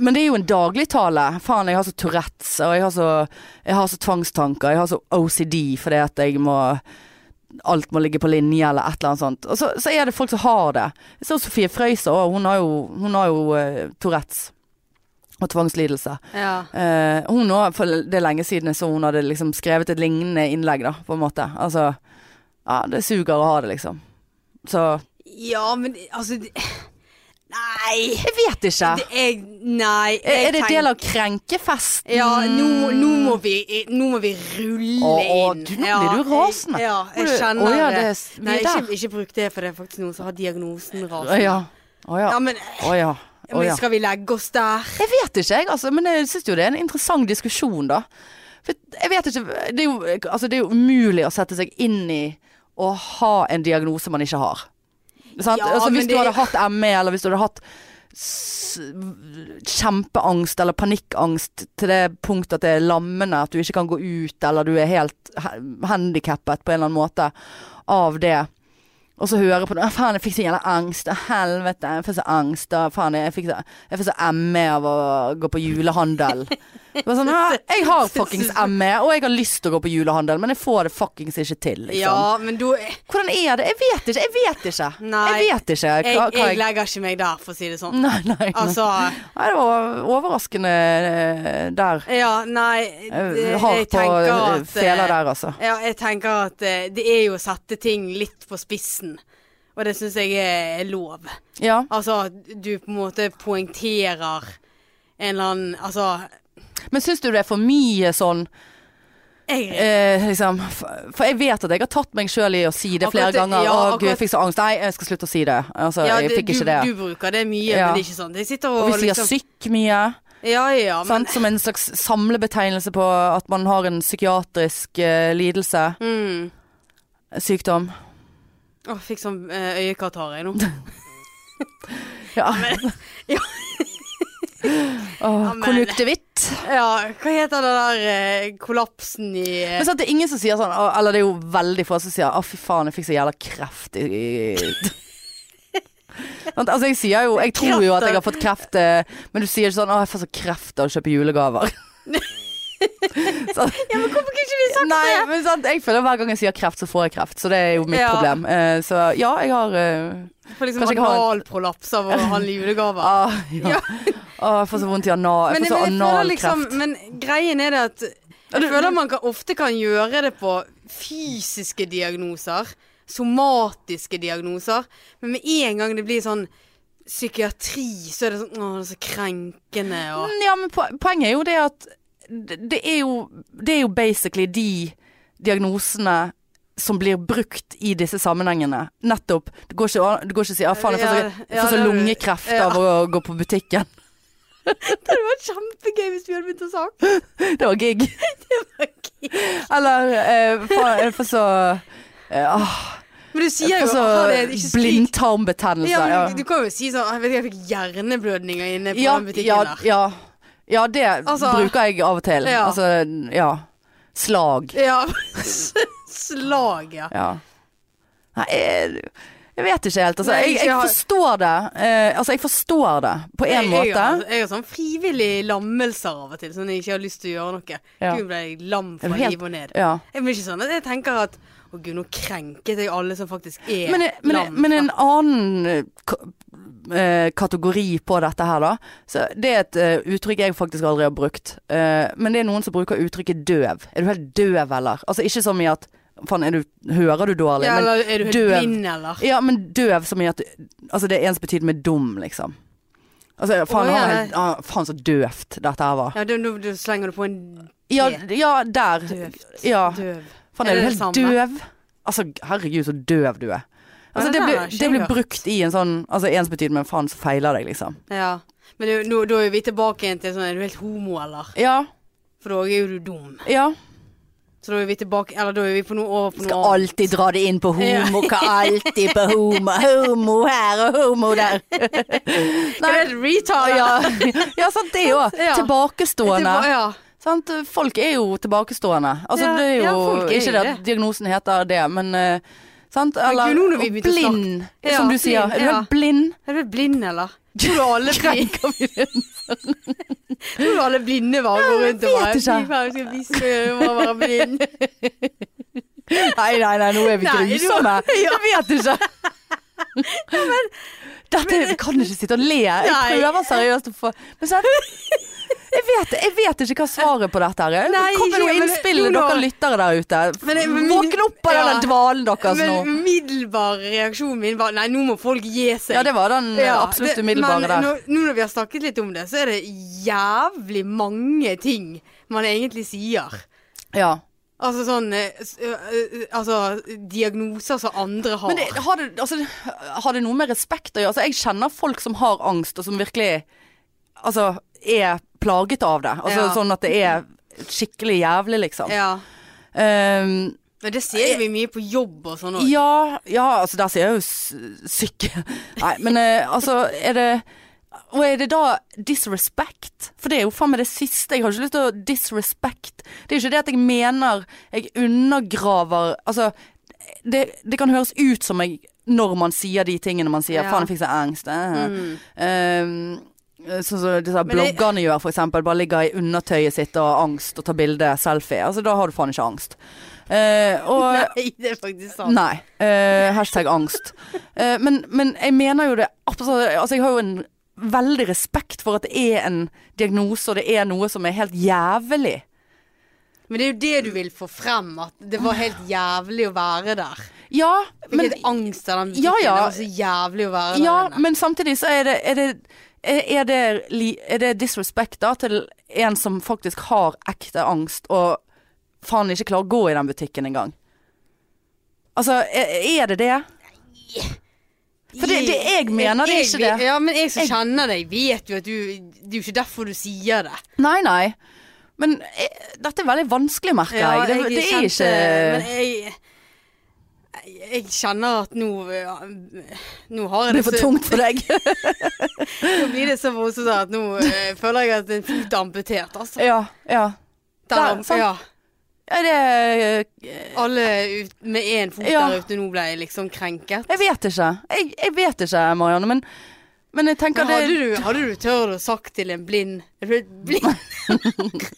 [SPEAKER 1] men det er jo en dagligtale. Faen, jeg har så Tourettes, og jeg har så, jeg har så tvangstanker, jeg har så OCD fordi at jeg må alt må ligge på linje, eller et eller annet sånt. Og så, så er det folk som har det. Jeg så Sofie Frøysa òg, hun har jo, hun har jo eh, Tourettes og tvangslidelse.
[SPEAKER 2] Ja.
[SPEAKER 1] Eh, hun òg, for det er lenge siden jeg så hun hadde liksom skrevet et lignende innlegg, da, på en måte. Altså Ja, det suger å ha det, liksom. Så
[SPEAKER 2] ja, men altså det- Nei.
[SPEAKER 1] Jeg vet ikke.
[SPEAKER 2] Det, jeg, nei.
[SPEAKER 1] Er,
[SPEAKER 2] jeg
[SPEAKER 1] er det
[SPEAKER 2] tenker-
[SPEAKER 1] del av krenkefesten?
[SPEAKER 2] Ja, nå, nå, må vi, nå må vi
[SPEAKER 1] Å,
[SPEAKER 2] rulle
[SPEAKER 1] å,
[SPEAKER 2] inn.
[SPEAKER 1] du- nå blir du rasende.
[SPEAKER 2] Ja, jeg
[SPEAKER 1] Å,
[SPEAKER 2] kjenner
[SPEAKER 1] ja,
[SPEAKER 2] det.
[SPEAKER 1] det er- vi
[SPEAKER 2] Nei,
[SPEAKER 1] er
[SPEAKER 2] ikke,
[SPEAKER 1] der.
[SPEAKER 2] ikke bruk det, for det er faktisk noen som har diagnosen
[SPEAKER 1] Å
[SPEAKER 2] rasende.
[SPEAKER 1] ja. Å ja.
[SPEAKER 2] Ja, men,
[SPEAKER 1] Å ja.
[SPEAKER 2] ja,
[SPEAKER 1] Å
[SPEAKER 2] men
[SPEAKER 1] ja.
[SPEAKER 2] skal vi legge oss der?
[SPEAKER 1] Jeg vet ikke, jeg, altså, men jeg syns jo det er en interessant diskusjon, da. For jeg vet ikke det er, jo, altså, det er jo umulig å sette seg inn i å ha en diagnose man ikke har. Sant?
[SPEAKER 2] Ja,
[SPEAKER 1] altså, hvis
[SPEAKER 2] men
[SPEAKER 1] du
[SPEAKER 2] det-
[SPEAKER 1] hadde hatt ME, eller hvis du hadde hatt s kjempeangst eller panikkangst til det punktet at det er lammende, at du ikke kan gå ut, eller du er helt handikappet på en eller annen måte av det. Og så høre på det. «Å, Faen, jeg fikk så jævla angst. Å, Helvete, jeg får så angst. Å, faen, jeg fikk så, jeg fikk så ME av å gå på julehandel. Det var sånn, «Å, jeg har fuckings ME, og jeg har lyst til å gå på julehandel, men jeg får det fuckings ikke til. Liksom.
[SPEAKER 2] Ja, men da jeg,
[SPEAKER 1] Hvordan er det? Jeg vet ikke. Jeg vet ikke.
[SPEAKER 2] Nei.
[SPEAKER 1] jeg vet ikke hva, hva
[SPEAKER 2] jeg
[SPEAKER 1] jeg, Mm.
[SPEAKER 2] legger ikke meg der, for å si det sånn.
[SPEAKER 1] Nei, nei, nei.
[SPEAKER 2] Altså
[SPEAKER 1] nei. Det var overraskende eh, der.
[SPEAKER 2] Ja, nei
[SPEAKER 1] Eh,
[SPEAKER 2] det-
[SPEAKER 1] Hardt på
[SPEAKER 2] tenker
[SPEAKER 1] eh,
[SPEAKER 2] at, eh,
[SPEAKER 1] feler der, altså.
[SPEAKER 2] Ja, jeg tenker at eh, det er jo å sette ting litt på spissen. Og det syns jeg er lov.
[SPEAKER 1] Ja.
[SPEAKER 2] Altså at du på en måte poengterer en eller annen Altså,
[SPEAKER 1] Men syns du det er for mye sånn
[SPEAKER 2] jeg
[SPEAKER 1] eh, liksom, f- For jeg vet at jeg har tatt meg sjøl i å si det flere
[SPEAKER 2] Akkurat det-
[SPEAKER 1] ganger. Å,
[SPEAKER 2] ja,
[SPEAKER 1] gud, jeg
[SPEAKER 2] akkurat-
[SPEAKER 1] fikk så angst. Nei, jeg skal slutte å si det. Altså, jeg
[SPEAKER 2] det-
[SPEAKER 1] fikk
[SPEAKER 2] du,
[SPEAKER 1] ikke det.
[SPEAKER 2] du bruker det mye,
[SPEAKER 1] Ja.
[SPEAKER 2] men det er ikke sånn. Jeg sitter og,
[SPEAKER 1] og vi sier Sånn.
[SPEAKER 2] liksom
[SPEAKER 1] syk mye.
[SPEAKER 2] Ja ja, men
[SPEAKER 1] sant? Som en slags samlebetegnelse på at man har en psykiatrisk eh, lidelse,
[SPEAKER 2] mm.
[SPEAKER 1] sykdom.
[SPEAKER 2] Å, fikk sånn eh, øyekatarr jeg nå.
[SPEAKER 1] Ja.
[SPEAKER 2] ja.
[SPEAKER 1] Åh,
[SPEAKER 2] Ja, men-
[SPEAKER 1] Konjunktivitt.
[SPEAKER 2] Ja, hva heter det der eh, kollapsen i eh?
[SPEAKER 1] Men sant, det er ingen som sier sånn, «Å», eller det er jo veldig få som sier Å fy faen, jeg fikk så jævla kreft i, i. Sant, Altså jeg sier jo, jeg tror jo at jeg har fått kreft eh, Men du sier ikke sånn, å jeg får så kreft av å kjøpe julegaver så,
[SPEAKER 2] Ja, men hvorfor kunne ikke vi sagt
[SPEAKER 1] Nei, men sant, jeg føler hver gang jeg sier kreft så får jeg kreft Så det er jo mitt
[SPEAKER 2] Ja.
[SPEAKER 1] problem Eh, Så ja, jeg har eh,
[SPEAKER 2] det? For liksom
[SPEAKER 1] Kanskje jeg har-
[SPEAKER 2] analprolaps av å handle julegaver.
[SPEAKER 1] ah, ja.
[SPEAKER 2] Ja.
[SPEAKER 1] Å, jeg får så vondt i anal Jeg
[SPEAKER 2] men,
[SPEAKER 1] får så
[SPEAKER 2] men jeg føler
[SPEAKER 1] analkreft
[SPEAKER 2] liksom, men greien er det at jeg føler man kan, ofte kan gjøre det på fysiske diagnoser, somatiske diagnoser, men med en gang det blir sånn psykiatri, så er det sånn Å, det er så krenkende og
[SPEAKER 1] Ja, men po- poenget er jo det at det- det er jo, det er jo basically de diagnosene som blir brukt i disse sammenhengene. Nettopp. Det går ikke, an- det går ikke å si ah, faen, jeg får så,
[SPEAKER 2] Ja,
[SPEAKER 1] jeg
[SPEAKER 2] ja,
[SPEAKER 1] får så
[SPEAKER 2] det er du-
[SPEAKER 1] lungekreft
[SPEAKER 2] ja.
[SPEAKER 1] av å gå på butikken.
[SPEAKER 2] Det hadde vært kjempegøy hvis vi hadde begynt å snakke.
[SPEAKER 1] Det var gig.
[SPEAKER 2] Ok.
[SPEAKER 1] Eller eh, faen, jeg får så eh, ah,
[SPEAKER 2] Men du sier
[SPEAKER 1] jeg
[SPEAKER 2] jo
[SPEAKER 1] får så
[SPEAKER 2] «Å, det er ikke skrik.
[SPEAKER 1] blindtarmbetennelse.
[SPEAKER 2] Altså, Ja,
[SPEAKER 1] Ja,
[SPEAKER 2] men du kan jo si sånn «Å, Jeg vet ikke, jeg fikk hjerneblødninger inne på
[SPEAKER 1] ja,
[SPEAKER 2] den butikken
[SPEAKER 1] ja,
[SPEAKER 2] der.
[SPEAKER 1] ja, ja, det
[SPEAKER 2] Altså-
[SPEAKER 1] bruker jeg av og til.
[SPEAKER 2] Ja.
[SPEAKER 1] Altså, ja. Slag.
[SPEAKER 2] Ja. Slag, ja.
[SPEAKER 1] Ja. Nei, jeg, jeg vet ikke helt. Altså,
[SPEAKER 2] Nei,
[SPEAKER 1] jeg,
[SPEAKER 2] ikke
[SPEAKER 1] jeg
[SPEAKER 2] har-
[SPEAKER 1] forstår det. Eh, altså, jeg forstår det på en
[SPEAKER 2] Jeg- Jeg,
[SPEAKER 1] måte.
[SPEAKER 2] har- jeg har sånn frivillige lammelser av og til, sånn jeg ikke har lyst til å gjøre noe.
[SPEAKER 1] Ja.
[SPEAKER 2] Gud, ble jeg lam fra
[SPEAKER 1] Er du helt-
[SPEAKER 2] liv og ned.
[SPEAKER 1] Ja.
[SPEAKER 2] Jeg blir ikke sånn at jeg tenker at å gud, nå krenket jeg alle som faktisk er
[SPEAKER 1] Men, men,
[SPEAKER 2] lam.
[SPEAKER 1] men en annen eh, ka- eh, kategori på dette her, da. Så det er et eh, uttrykk jeg faktisk aldri har brukt. Eh, men det er noen som bruker uttrykket døv. Er du helt døv, eller? Altså ikke som i at Faen, er du- hører du dårlig?
[SPEAKER 2] ja,
[SPEAKER 1] men,
[SPEAKER 2] eller er du helt
[SPEAKER 1] døv.
[SPEAKER 2] blind, eller?
[SPEAKER 1] Ja, men døv som i at Altså det er ensbetydende med dum, liksom. Altså faen,
[SPEAKER 2] Å, ja.
[SPEAKER 1] han er- ah, faen så døvt dette her var.
[SPEAKER 2] Ja, du, du, du slenger det på en
[SPEAKER 1] Ja,
[SPEAKER 2] T.
[SPEAKER 1] ja der.
[SPEAKER 2] døvt.
[SPEAKER 1] Ja.
[SPEAKER 2] Døv.
[SPEAKER 1] Faen, er
[SPEAKER 2] Er
[SPEAKER 1] du
[SPEAKER 2] det det
[SPEAKER 1] helt
[SPEAKER 2] samme?
[SPEAKER 1] døv? Altså, herregud, så døv du er. Altså, det
[SPEAKER 2] Ja, det
[SPEAKER 1] blir,
[SPEAKER 2] har jeg ikke
[SPEAKER 1] det blir
[SPEAKER 2] hørt.
[SPEAKER 1] brukt i en sånn altså, ensbetydende, men faen, så feiler deg, liksom.
[SPEAKER 2] Ja. Men det, er jo- nå, da er vi tilbake igjen til sånn Er du helt homo, eller?
[SPEAKER 1] Ja,
[SPEAKER 2] For da er jo du dum.
[SPEAKER 1] ja.
[SPEAKER 2] Så da er vi tilbake Eller da er vi på noe over på noe
[SPEAKER 1] Skal alltid dra det inn på homo, hva alltid på homo. Homo her og homo der.
[SPEAKER 2] Nei, det er retard,
[SPEAKER 1] Ja, ja sant det òg.
[SPEAKER 2] Ja.
[SPEAKER 1] Tilbakestående.
[SPEAKER 2] Ja.
[SPEAKER 1] Sant? Folk er jo tilbakestående. Altså,
[SPEAKER 2] Ja,
[SPEAKER 1] det er jo
[SPEAKER 2] ja, folk er
[SPEAKER 1] ikke
[SPEAKER 2] jo
[SPEAKER 1] det at diagnosen heter det, men eh, sant? Eller
[SPEAKER 2] gud, nå når vi begynte å
[SPEAKER 1] blind,
[SPEAKER 2] Ja,
[SPEAKER 1] som du sier.
[SPEAKER 2] blind,
[SPEAKER 1] Er du
[SPEAKER 2] ja.
[SPEAKER 1] helt blind?
[SPEAKER 2] Er du helt blind, eller? Tror du alle blir
[SPEAKER 1] Krenker vi det?
[SPEAKER 2] Tror du alle blinde var går rundt og
[SPEAKER 1] vet
[SPEAKER 2] bare
[SPEAKER 1] ikke.
[SPEAKER 2] Fy faen, skal vi skal må være blind.
[SPEAKER 1] Nei, nei, nei, nå er vi
[SPEAKER 2] Nei,
[SPEAKER 1] grusomme. Jeg vet ikke. Dette vi kan ikke sitte og le. Jeg
[SPEAKER 2] Nei.
[SPEAKER 1] prøver seriøst å få Men så er det jeg vet, jeg vet ikke hva svaret på dette her er.
[SPEAKER 2] Nei,
[SPEAKER 1] Kom med
[SPEAKER 2] ikke,
[SPEAKER 1] noen
[SPEAKER 2] men-
[SPEAKER 1] innspill,
[SPEAKER 2] jo, nå-
[SPEAKER 1] dere lyttere der ute.
[SPEAKER 2] Men jeg- men-
[SPEAKER 1] Våkne opp av
[SPEAKER 2] Ja.
[SPEAKER 1] denne dvalen deres nå.
[SPEAKER 2] Men umiddelbar reaksjonen min var Nei, nå må folk gi seg.
[SPEAKER 1] Ja, det var den eh,
[SPEAKER 2] Ja,
[SPEAKER 1] absolutt
[SPEAKER 2] det-
[SPEAKER 1] umiddelbare
[SPEAKER 2] men
[SPEAKER 1] der.
[SPEAKER 2] Nå, nå når vi har snakket litt om det, så er det jævlig mange ting man egentlig sier.
[SPEAKER 1] Ja.
[SPEAKER 2] Altså sånn eh, s- ø- ø- Altså diagnoser som andre har.
[SPEAKER 1] Men det, har, det, altså, har det noe med respekt å gjøre? Altså, jeg kjenner folk som har angst, og som virkelig altså, er plaget av det. Altså,
[SPEAKER 2] Ja.
[SPEAKER 1] Sånn at det er skikkelig jævlig, liksom.
[SPEAKER 2] ja.
[SPEAKER 1] Ehm,
[SPEAKER 2] Men det ser vi mye på jobb og sånn òg.
[SPEAKER 1] ja, ja, altså der sier jeg jo s- syke Nei, men eh, altså er det Og er det da disrespect? For det er jo faen meg det siste. Jeg har ikke lyst til å disrespect. Det er jo ikke det at jeg mener jeg undergraver Altså, det, det kan høres ut som jeg når man sier de tingene man sier.
[SPEAKER 2] Ja. Mm.
[SPEAKER 1] Faen, jeg fikk så angst. eh. Eh, Sånn som disse
[SPEAKER 2] Men det-
[SPEAKER 1] bloggerne gjør, for eksempel. Bare ligger i undertøyet sitt og har angst og tar bilde, selfie. Altså, da har du faen ikke angst. Eh, og,
[SPEAKER 2] Nei, det er faktisk sant.
[SPEAKER 1] Nei. eh, hashtag angst. Eh, men, men jeg mener jo det absolutt Altså, jeg har jo en veldig respekt for at det er en diagnose, og det er noe som er helt jævlig.
[SPEAKER 2] Men det er jo det du vil få frem, at det var helt jævlig å være der.
[SPEAKER 1] Ja,
[SPEAKER 2] Fikk
[SPEAKER 1] men,
[SPEAKER 2] helt angst av den butikken.
[SPEAKER 1] Ja, ja.
[SPEAKER 2] Det var så jævlig å være
[SPEAKER 1] ja,
[SPEAKER 2] der inne.
[SPEAKER 1] men samtidig så er det er det, er det, li- er det disrespect da til en som faktisk har ekte angst og faen ikke klarer å gå i den butikken engang? Altså, er, er det det? For det- det- jeg mener det er ikke det.
[SPEAKER 2] Ja, men jeg som
[SPEAKER 1] Jeg-
[SPEAKER 2] kjenner deg, vet jo at du Det er jo ikke derfor du sier det.
[SPEAKER 1] Nei, nei. Men eh, dette er veldig vanskelig, merker jeg.
[SPEAKER 2] Ja,
[SPEAKER 1] det,
[SPEAKER 2] jeg
[SPEAKER 1] det er
[SPEAKER 2] kjente-
[SPEAKER 1] ikke
[SPEAKER 2] Men jeg jeg- jeg kjenner at nå ja, Nå har jeg
[SPEAKER 1] Det
[SPEAKER 2] det
[SPEAKER 1] er for
[SPEAKER 2] så-
[SPEAKER 1] tungt for deg.
[SPEAKER 2] Nå blir det så voldsomt at nå eh, føler jeg at en fot er amputert, altså.
[SPEAKER 1] ja, ja.
[SPEAKER 2] Der,
[SPEAKER 1] der, sant.
[SPEAKER 2] ja,
[SPEAKER 1] Er det
[SPEAKER 2] alle ut, med én fot
[SPEAKER 1] Ja.
[SPEAKER 2] der ute nå ble liksom krenket.
[SPEAKER 1] Jeg vet ikke. Jeg, jeg vet ikke, Marianne. Men, men jeg tenker
[SPEAKER 2] Men hadde,
[SPEAKER 1] det
[SPEAKER 2] du, hadde du tørt å sagt til en blind Er du et blind?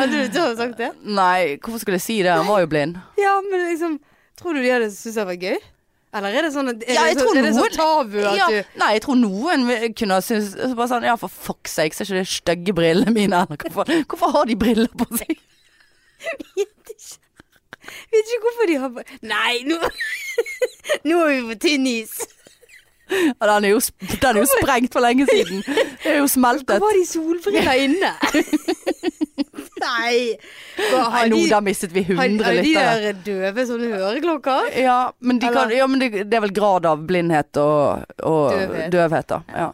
[SPEAKER 2] hadde du tørt å sagt det?
[SPEAKER 1] Nei, hvorfor skulle jeg si det? Han var jo blind.
[SPEAKER 2] Ja, men liksom Tror du de hadde syntes det var gøy? Eller er det sånn at er
[SPEAKER 1] Ja, jeg
[SPEAKER 2] det, så,
[SPEAKER 1] tror
[SPEAKER 2] er det så
[SPEAKER 1] noen-
[SPEAKER 2] tabu at
[SPEAKER 1] Ja,
[SPEAKER 2] du
[SPEAKER 1] nei, jeg tror noen vil- kunne ha syntes så bare sånn, Ja, for fuck's sake, ser ikke de stygge brillene mine? Eller hvorfor, hvorfor har de briller på seg?
[SPEAKER 2] Vet ikke. Vet ikke hvorfor de har på Nei, nå Nå er vi på tynn is.
[SPEAKER 1] Ja, den er jo, sp- den er jo sprengt for lenge siden. Det er jo smeltet.
[SPEAKER 2] Hvorfor har de solbriller inne? Nei. Hva,
[SPEAKER 1] Nei,
[SPEAKER 2] har,
[SPEAKER 1] nå,
[SPEAKER 2] de,
[SPEAKER 1] der mistet vi
[SPEAKER 2] har,
[SPEAKER 1] 100
[SPEAKER 2] har de
[SPEAKER 1] lyttere.
[SPEAKER 2] der døve sånne høreklokker?
[SPEAKER 1] Ja, men, de kan,
[SPEAKER 2] Eller-
[SPEAKER 1] ja, men det, det er vel grad av blindhet og, og
[SPEAKER 2] Døvhet.
[SPEAKER 1] døvhet, da. Ja.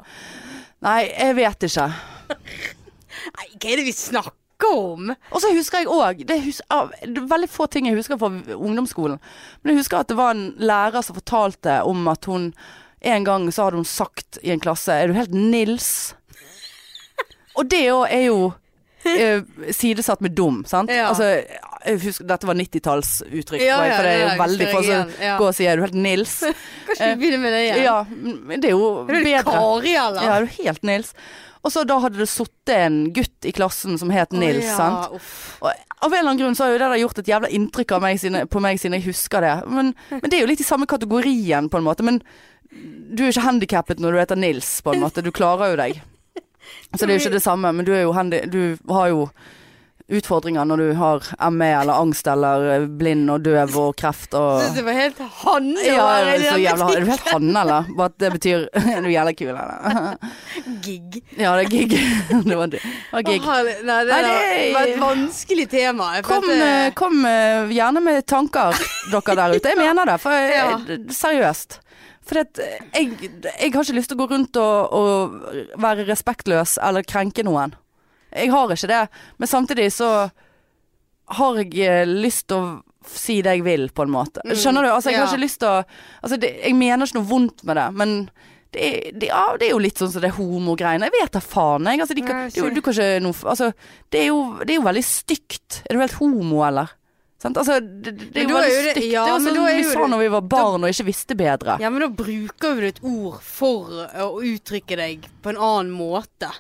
[SPEAKER 1] Nei, jeg vet ikke.
[SPEAKER 2] Nei, hva er det vi snakker om?
[SPEAKER 1] Og så husker jeg òg det, hus- av- det er veldig få ting jeg husker fra ungdomsskolen. Men jeg husker at det var en lærer som fortalte om at hun En gang så hadde hun sagt i en klasse Er du helt Nils? Og det òg er jo eh, sidesatt med dum, sant?
[SPEAKER 2] Ja.
[SPEAKER 1] Altså, jeg husker, dette var 90-tallsuttrykk,
[SPEAKER 2] Ja,
[SPEAKER 1] for jeg-
[SPEAKER 2] ja,
[SPEAKER 1] for det er jo
[SPEAKER 2] det husker
[SPEAKER 1] veldig
[SPEAKER 2] jeg
[SPEAKER 1] få som
[SPEAKER 2] igjen, ja.
[SPEAKER 1] går og sier Er du helt Nils?
[SPEAKER 2] Kanskje vi begynner med det igjen?
[SPEAKER 1] Ja, men det er jo
[SPEAKER 2] Er du
[SPEAKER 1] bedre.
[SPEAKER 2] Kari, eller?
[SPEAKER 1] Ja, er du helt Nils? Og så da hadde det sittet en gutt i klassen som het Nils,
[SPEAKER 2] Å, ja,
[SPEAKER 1] sant?
[SPEAKER 2] uff.
[SPEAKER 1] Og av en eller annen grunn så har jo det der gjort et jævla inntrykk av meg siden, på meg siden jeg husker det. Men, men det er jo litt i samme kategorien, på en måte. Men du er jo ikke handikappet når du heter Nils, på en måte. Du klarer jo deg. Så det er jo ikke det samme, men du, er jo handi du har jo utfordringer når du har ME eller angst eller eh, blind og døv og kreft og
[SPEAKER 2] Synes det var helt han
[SPEAKER 1] ja, er du så jævla Er du helt han, eller? Bare at det betyr Er du jævla kul, eller?
[SPEAKER 2] gig.
[SPEAKER 1] Ja, det er gig. Det var, det var gig.
[SPEAKER 2] Åh, nei, det,
[SPEAKER 1] Nei,
[SPEAKER 2] der
[SPEAKER 1] det-
[SPEAKER 2] var et vanskelig tema. Jeg
[SPEAKER 1] Kom,
[SPEAKER 2] følte-
[SPEAKER 1] eh, kom eh, gjerne med tanker, dere der ute. Jeg mener det, for eh,
[SPEAKER 2] Ja.
[SPEAKER 1] d- seriøst. For at eh, jeg, jeg har ikke lyst til å gå rundt og, og være respektløs eller krenke noen. Jeg har ikke det. Men samtidig så har jeg eh, lyst til å f- si det jeg vil, på en måte. Skjønner du? Altså, jeg
[SPEAKER 2] ja.
[SPEAKER 1] har ikke lyst til å altså, det, Jeg mener ikke noe vondt med det, men det er, det, ja, det er jo litt sånn som det homogreiene. Jeg vet da faen, jeg. Altså, de kan,
[SPEAKER 2] Nei,
[SPEAKER 1] det er jo-
[SPEAKER 2] sorry.
[SPEAKER 1] du kan ikke noe f- Altså, det er jo, det er jo veldig stygt. Er du helt homo, eller? Sant? Altså, det, det er
[SPEAKER 2] Men
[SPEAKER 1] jo
[SPEAKER 2] da er
[SPEAKER 1] veldig
[SPEAKER 2] jo det-
[SPEAKER 1] stygt.
[SPEAKER 2] ja,
[SPEAKER 1] det er
[SPEAKER 2] men da
[SPEAKER 1] jo sånn
[SPEAKER 2] er
[SPEAKER 1] vi
[SPEAKER 2] jo
[SPEAKER 1] sa
[SPEAKER 2] det-
[SPEAKER 1] når vi var barn og ikke visste bedre.
[SPEAKER 2] Ja, men da bruker du et ord for å uttrykke deg på en annen måte.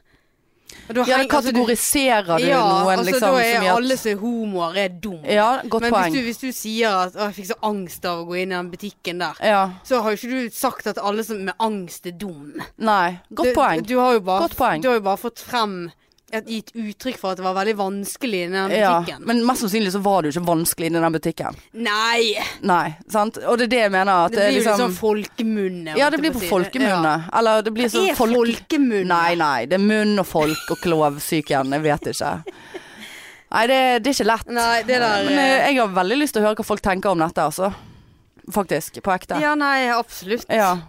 [SPEAKER 2] Og da
[SPEAKER 1] Ja,
[SPEAKER 2] heng-
[SPEAKER 1] da kategoriserer du
[SPEAKER 2] ja,
[SPEAKER 1] noen,
[SPEAKER 2] altså,
[SPEAKER 1] liksom.
[SPEAKER 2] da er
[SPEAKER 1] som gjør at-
[SPEAKER 2] alle som er homoer, er dum.
[SPEAKER 1] Ja, godt
[SPEAKER 2] men
[SPEAKER 1] poeng.
[SPEAKER 2] hvis, du, hvis du sier at å, 'jeg fikk så angst av å gå inn i den butikken der',
[SPEAKER 1] Ja.
[SPEAKER 2] så har jo ikke du sagt at alle som med angst er dum.
[SPEAKER 1] Nei. Godt
[SPEAKER 2] du,
[SPEAKER 1] poeng.
[SPEAKER 2] Du har jo bare,
[SPEAKER 1] Godt poeng.
[SPEAKER 2] Du har jo bare fått frem et, gitt uttrykk for at det var veldig vanskelig i den
[SPEAKER 1] Ja,
[SPEAKER 2] butikken.
[SPEAKER 1] men mest sannsynlig så var det jo ikke vanskelig inni den butikken.
[SPEAKER 2] Nei!
[SPEAKER 1] Nei, sant? Og det er det jeg mener. At
[SPEAKER 2] Det blir jo
[SPEAKER 1] liksom,
[SPEAKER 2] sånn folkemunne.
[SPEAKER 1] Ja, det
[SPEAKER 2] holdt jeg
[SPEAKER 1] blir
[SPEAKER 2] å
[SPEAKER 1] på
[SPEAKER 2] si.
[SPEAKER 1] folkemunne. Eller det blir
[SPEAKER 2] Ja.
[SPEAKER 1] sånn
[SPEAKER 2] Er folkemunne?
[SPEAKER 1] Nei, nei. Det er munn og folk og klovsyk igjen. Jeg vet ikke. Nei, det, det er ikke lett.
[SPEAKER 2] Nei, det der
[SPEAKER 1] Men
[SPEAKER 2] eh,
[SPEAKER 1] eh, jeg har veldig lyst til å høre hva folk tenker om dette, altså. Faktisk. På ekte.
[SPEAKER 2] Ja, nei, absolutt.
[SPEAKER 1] Ja.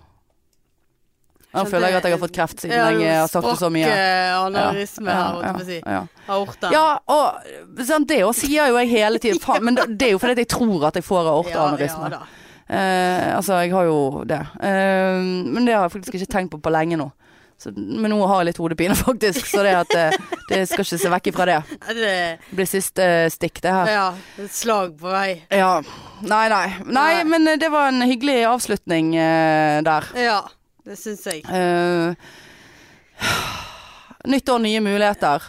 [SPEAKER 1] Nå føler jeg at jeg har fått kreft siden jeg eh, har sagt det så mye.
[SPEAKER 2] Aneurisme, ja, eh, holdt jeg på å si.
[SPEAKER 1] ja.
[SPEAKER 2] Aorta.
[SPEAKER 1] ja og sant, det også sier jo jeg hele tiden. Faen, men det det er jo fordi at jeg tror at jeg får aorteaneurisme.
[SPEAKER 2] Ja, ja da.
[SPEAKER 1] Eh, altså, jeg har jo det. Eh, men det har jeg faktisk ikke tenkt på på lenge nå. Så, men nå har jeg litt hodepine, faktisk, så det, at, eh, det skal ikke se vekk ifra det.
[SPEAKER 2] Er det-
[SPEAKER 1] Det blir siste eh, stikk, det her.
[SPEAKER 2] Ja, et slag på vei.
[SPEAKER 1] Ja. Nei, nei. Nei,
[SPEAKER 2] Nei.
[SPEAKER 1] men eh, det var en hyggelig avslutning eh, der.
[SPEAKER 2] Ja, det syns jeg.
[SPEAKER 1] Eh, nytt år, nye muligheter.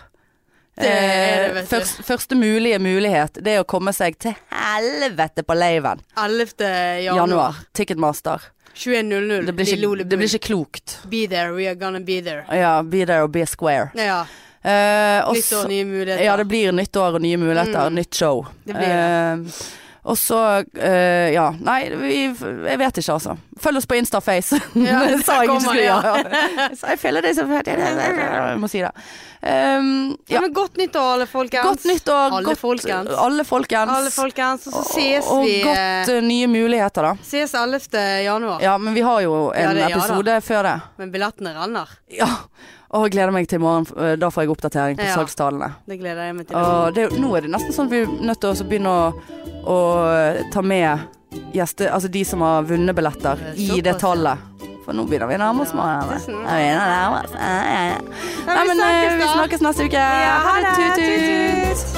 [SPEAKER 2] Det er det,
[SPEAKER 1] Eh,
[SPEAKER 2] vet du.
[SPEAKER 1] først, første mulige mulighet, det er å komme seg til helvete på laven.
[SPEAKER 2] 11. januar.
[SPEAKER 1] Januar. Ticketmaster.
[SPEAKER 2] 21.00.
[SPEAKER 1] Det blir ikke, det blir ikke klokt.
[SPEAKER 2] Be there, we are gonna be there.
[SPEAKER 1] Ja, be there og be square.
[SPEAKER 2] Ja.
[SPEAKER 1] Eh, og
[SPEAKER 2] Nytt
[SPEAKER 1] så-
[SPEAKER 2] år, nye muligheter. Mm.
[SPEAKER 1] Ja, det blir nytt år og nye muligheter. Nytt show.
[SPEAKER 2] Det blir det.
[SPEAKER 1] Eh, og så eh, Ja. Nei, vi, jeg vet ikke, altså. Følg oss på Instaface.
[SPEAKER 2] Ja,
[SPEAKER 1] det sa jeg ikke
[SPEAKER 2] kommer,
[SPEAKER 1] skulle
[SPEAKER 2] ja.
[SPEAKER 1] gjøre. Så jeg føler det som Jeg må si det. Um, ja.
[SPEAKER 2] Ja. Men godt nyttår, alle folkens.
[SPEAKER 1] Godt nyttår.
[SPEAKER 2] Alle
[SPEAKER 1] godt-
[SPEAKER 2] folkens.
[SPEAKER 1] Alle folkens.
[SPEAKER 2] Alle folkens. Og så ses
[SPEAKER 1] og, og
[SPEAKER 2] vi
[SPEAKER 1] godt eh, nye muligheter, da.
[SPEAKER 2] Ses 11. januar.
[SPEAKER 1] Ja, men vi har jo en
[SPEAKER 2] Ja, det- ja da.
[SPEAKER 1] episode før det.
[SPEAKER 2] Men billettene renner.
[SPEAKER 1] Ja. Og jeg gleder meg til i morgen. eh, Da får jeg oppdatering på
[SPEAKER 2] Ja.
[SPEAKER 1] salgstallene.
[SPEAKER 2] Det gleder jeg meg til.
[SPEAKER 1] Og det, er jo- nå er det nesten sånn at vi er nødt til å også begynne å, å eh, ta med gjester, altså de som har vunnet billetter, i det
[SPEAKER 2] Såpass, ja.
[SPEAKER 1] tallet. For nå begynner vi å nærme oss
[SPEAKER 2] Ja,
[SPEAKER 1] målet.
[SPEAKER 2] tusen.
[SPEAKER 1] Ja, vi nærmer oss. Ja, ja, ja.
[SPEAKER 2] Ja,
[SPEAKER 1] Nei,
[SPEAKER 2] vi
[SPEAKER 1] men eh,
[SPEAKER 2] snakkes
[SPEAKER 1] vi
[SPEAKER 2] da.
[SPEAKER 1] snakkes neste uke.
[SPEAKER 2] Ja, ha det.
[SPEAKER 1] Tut-tut.
[SPEAKER 2] Tut-tut.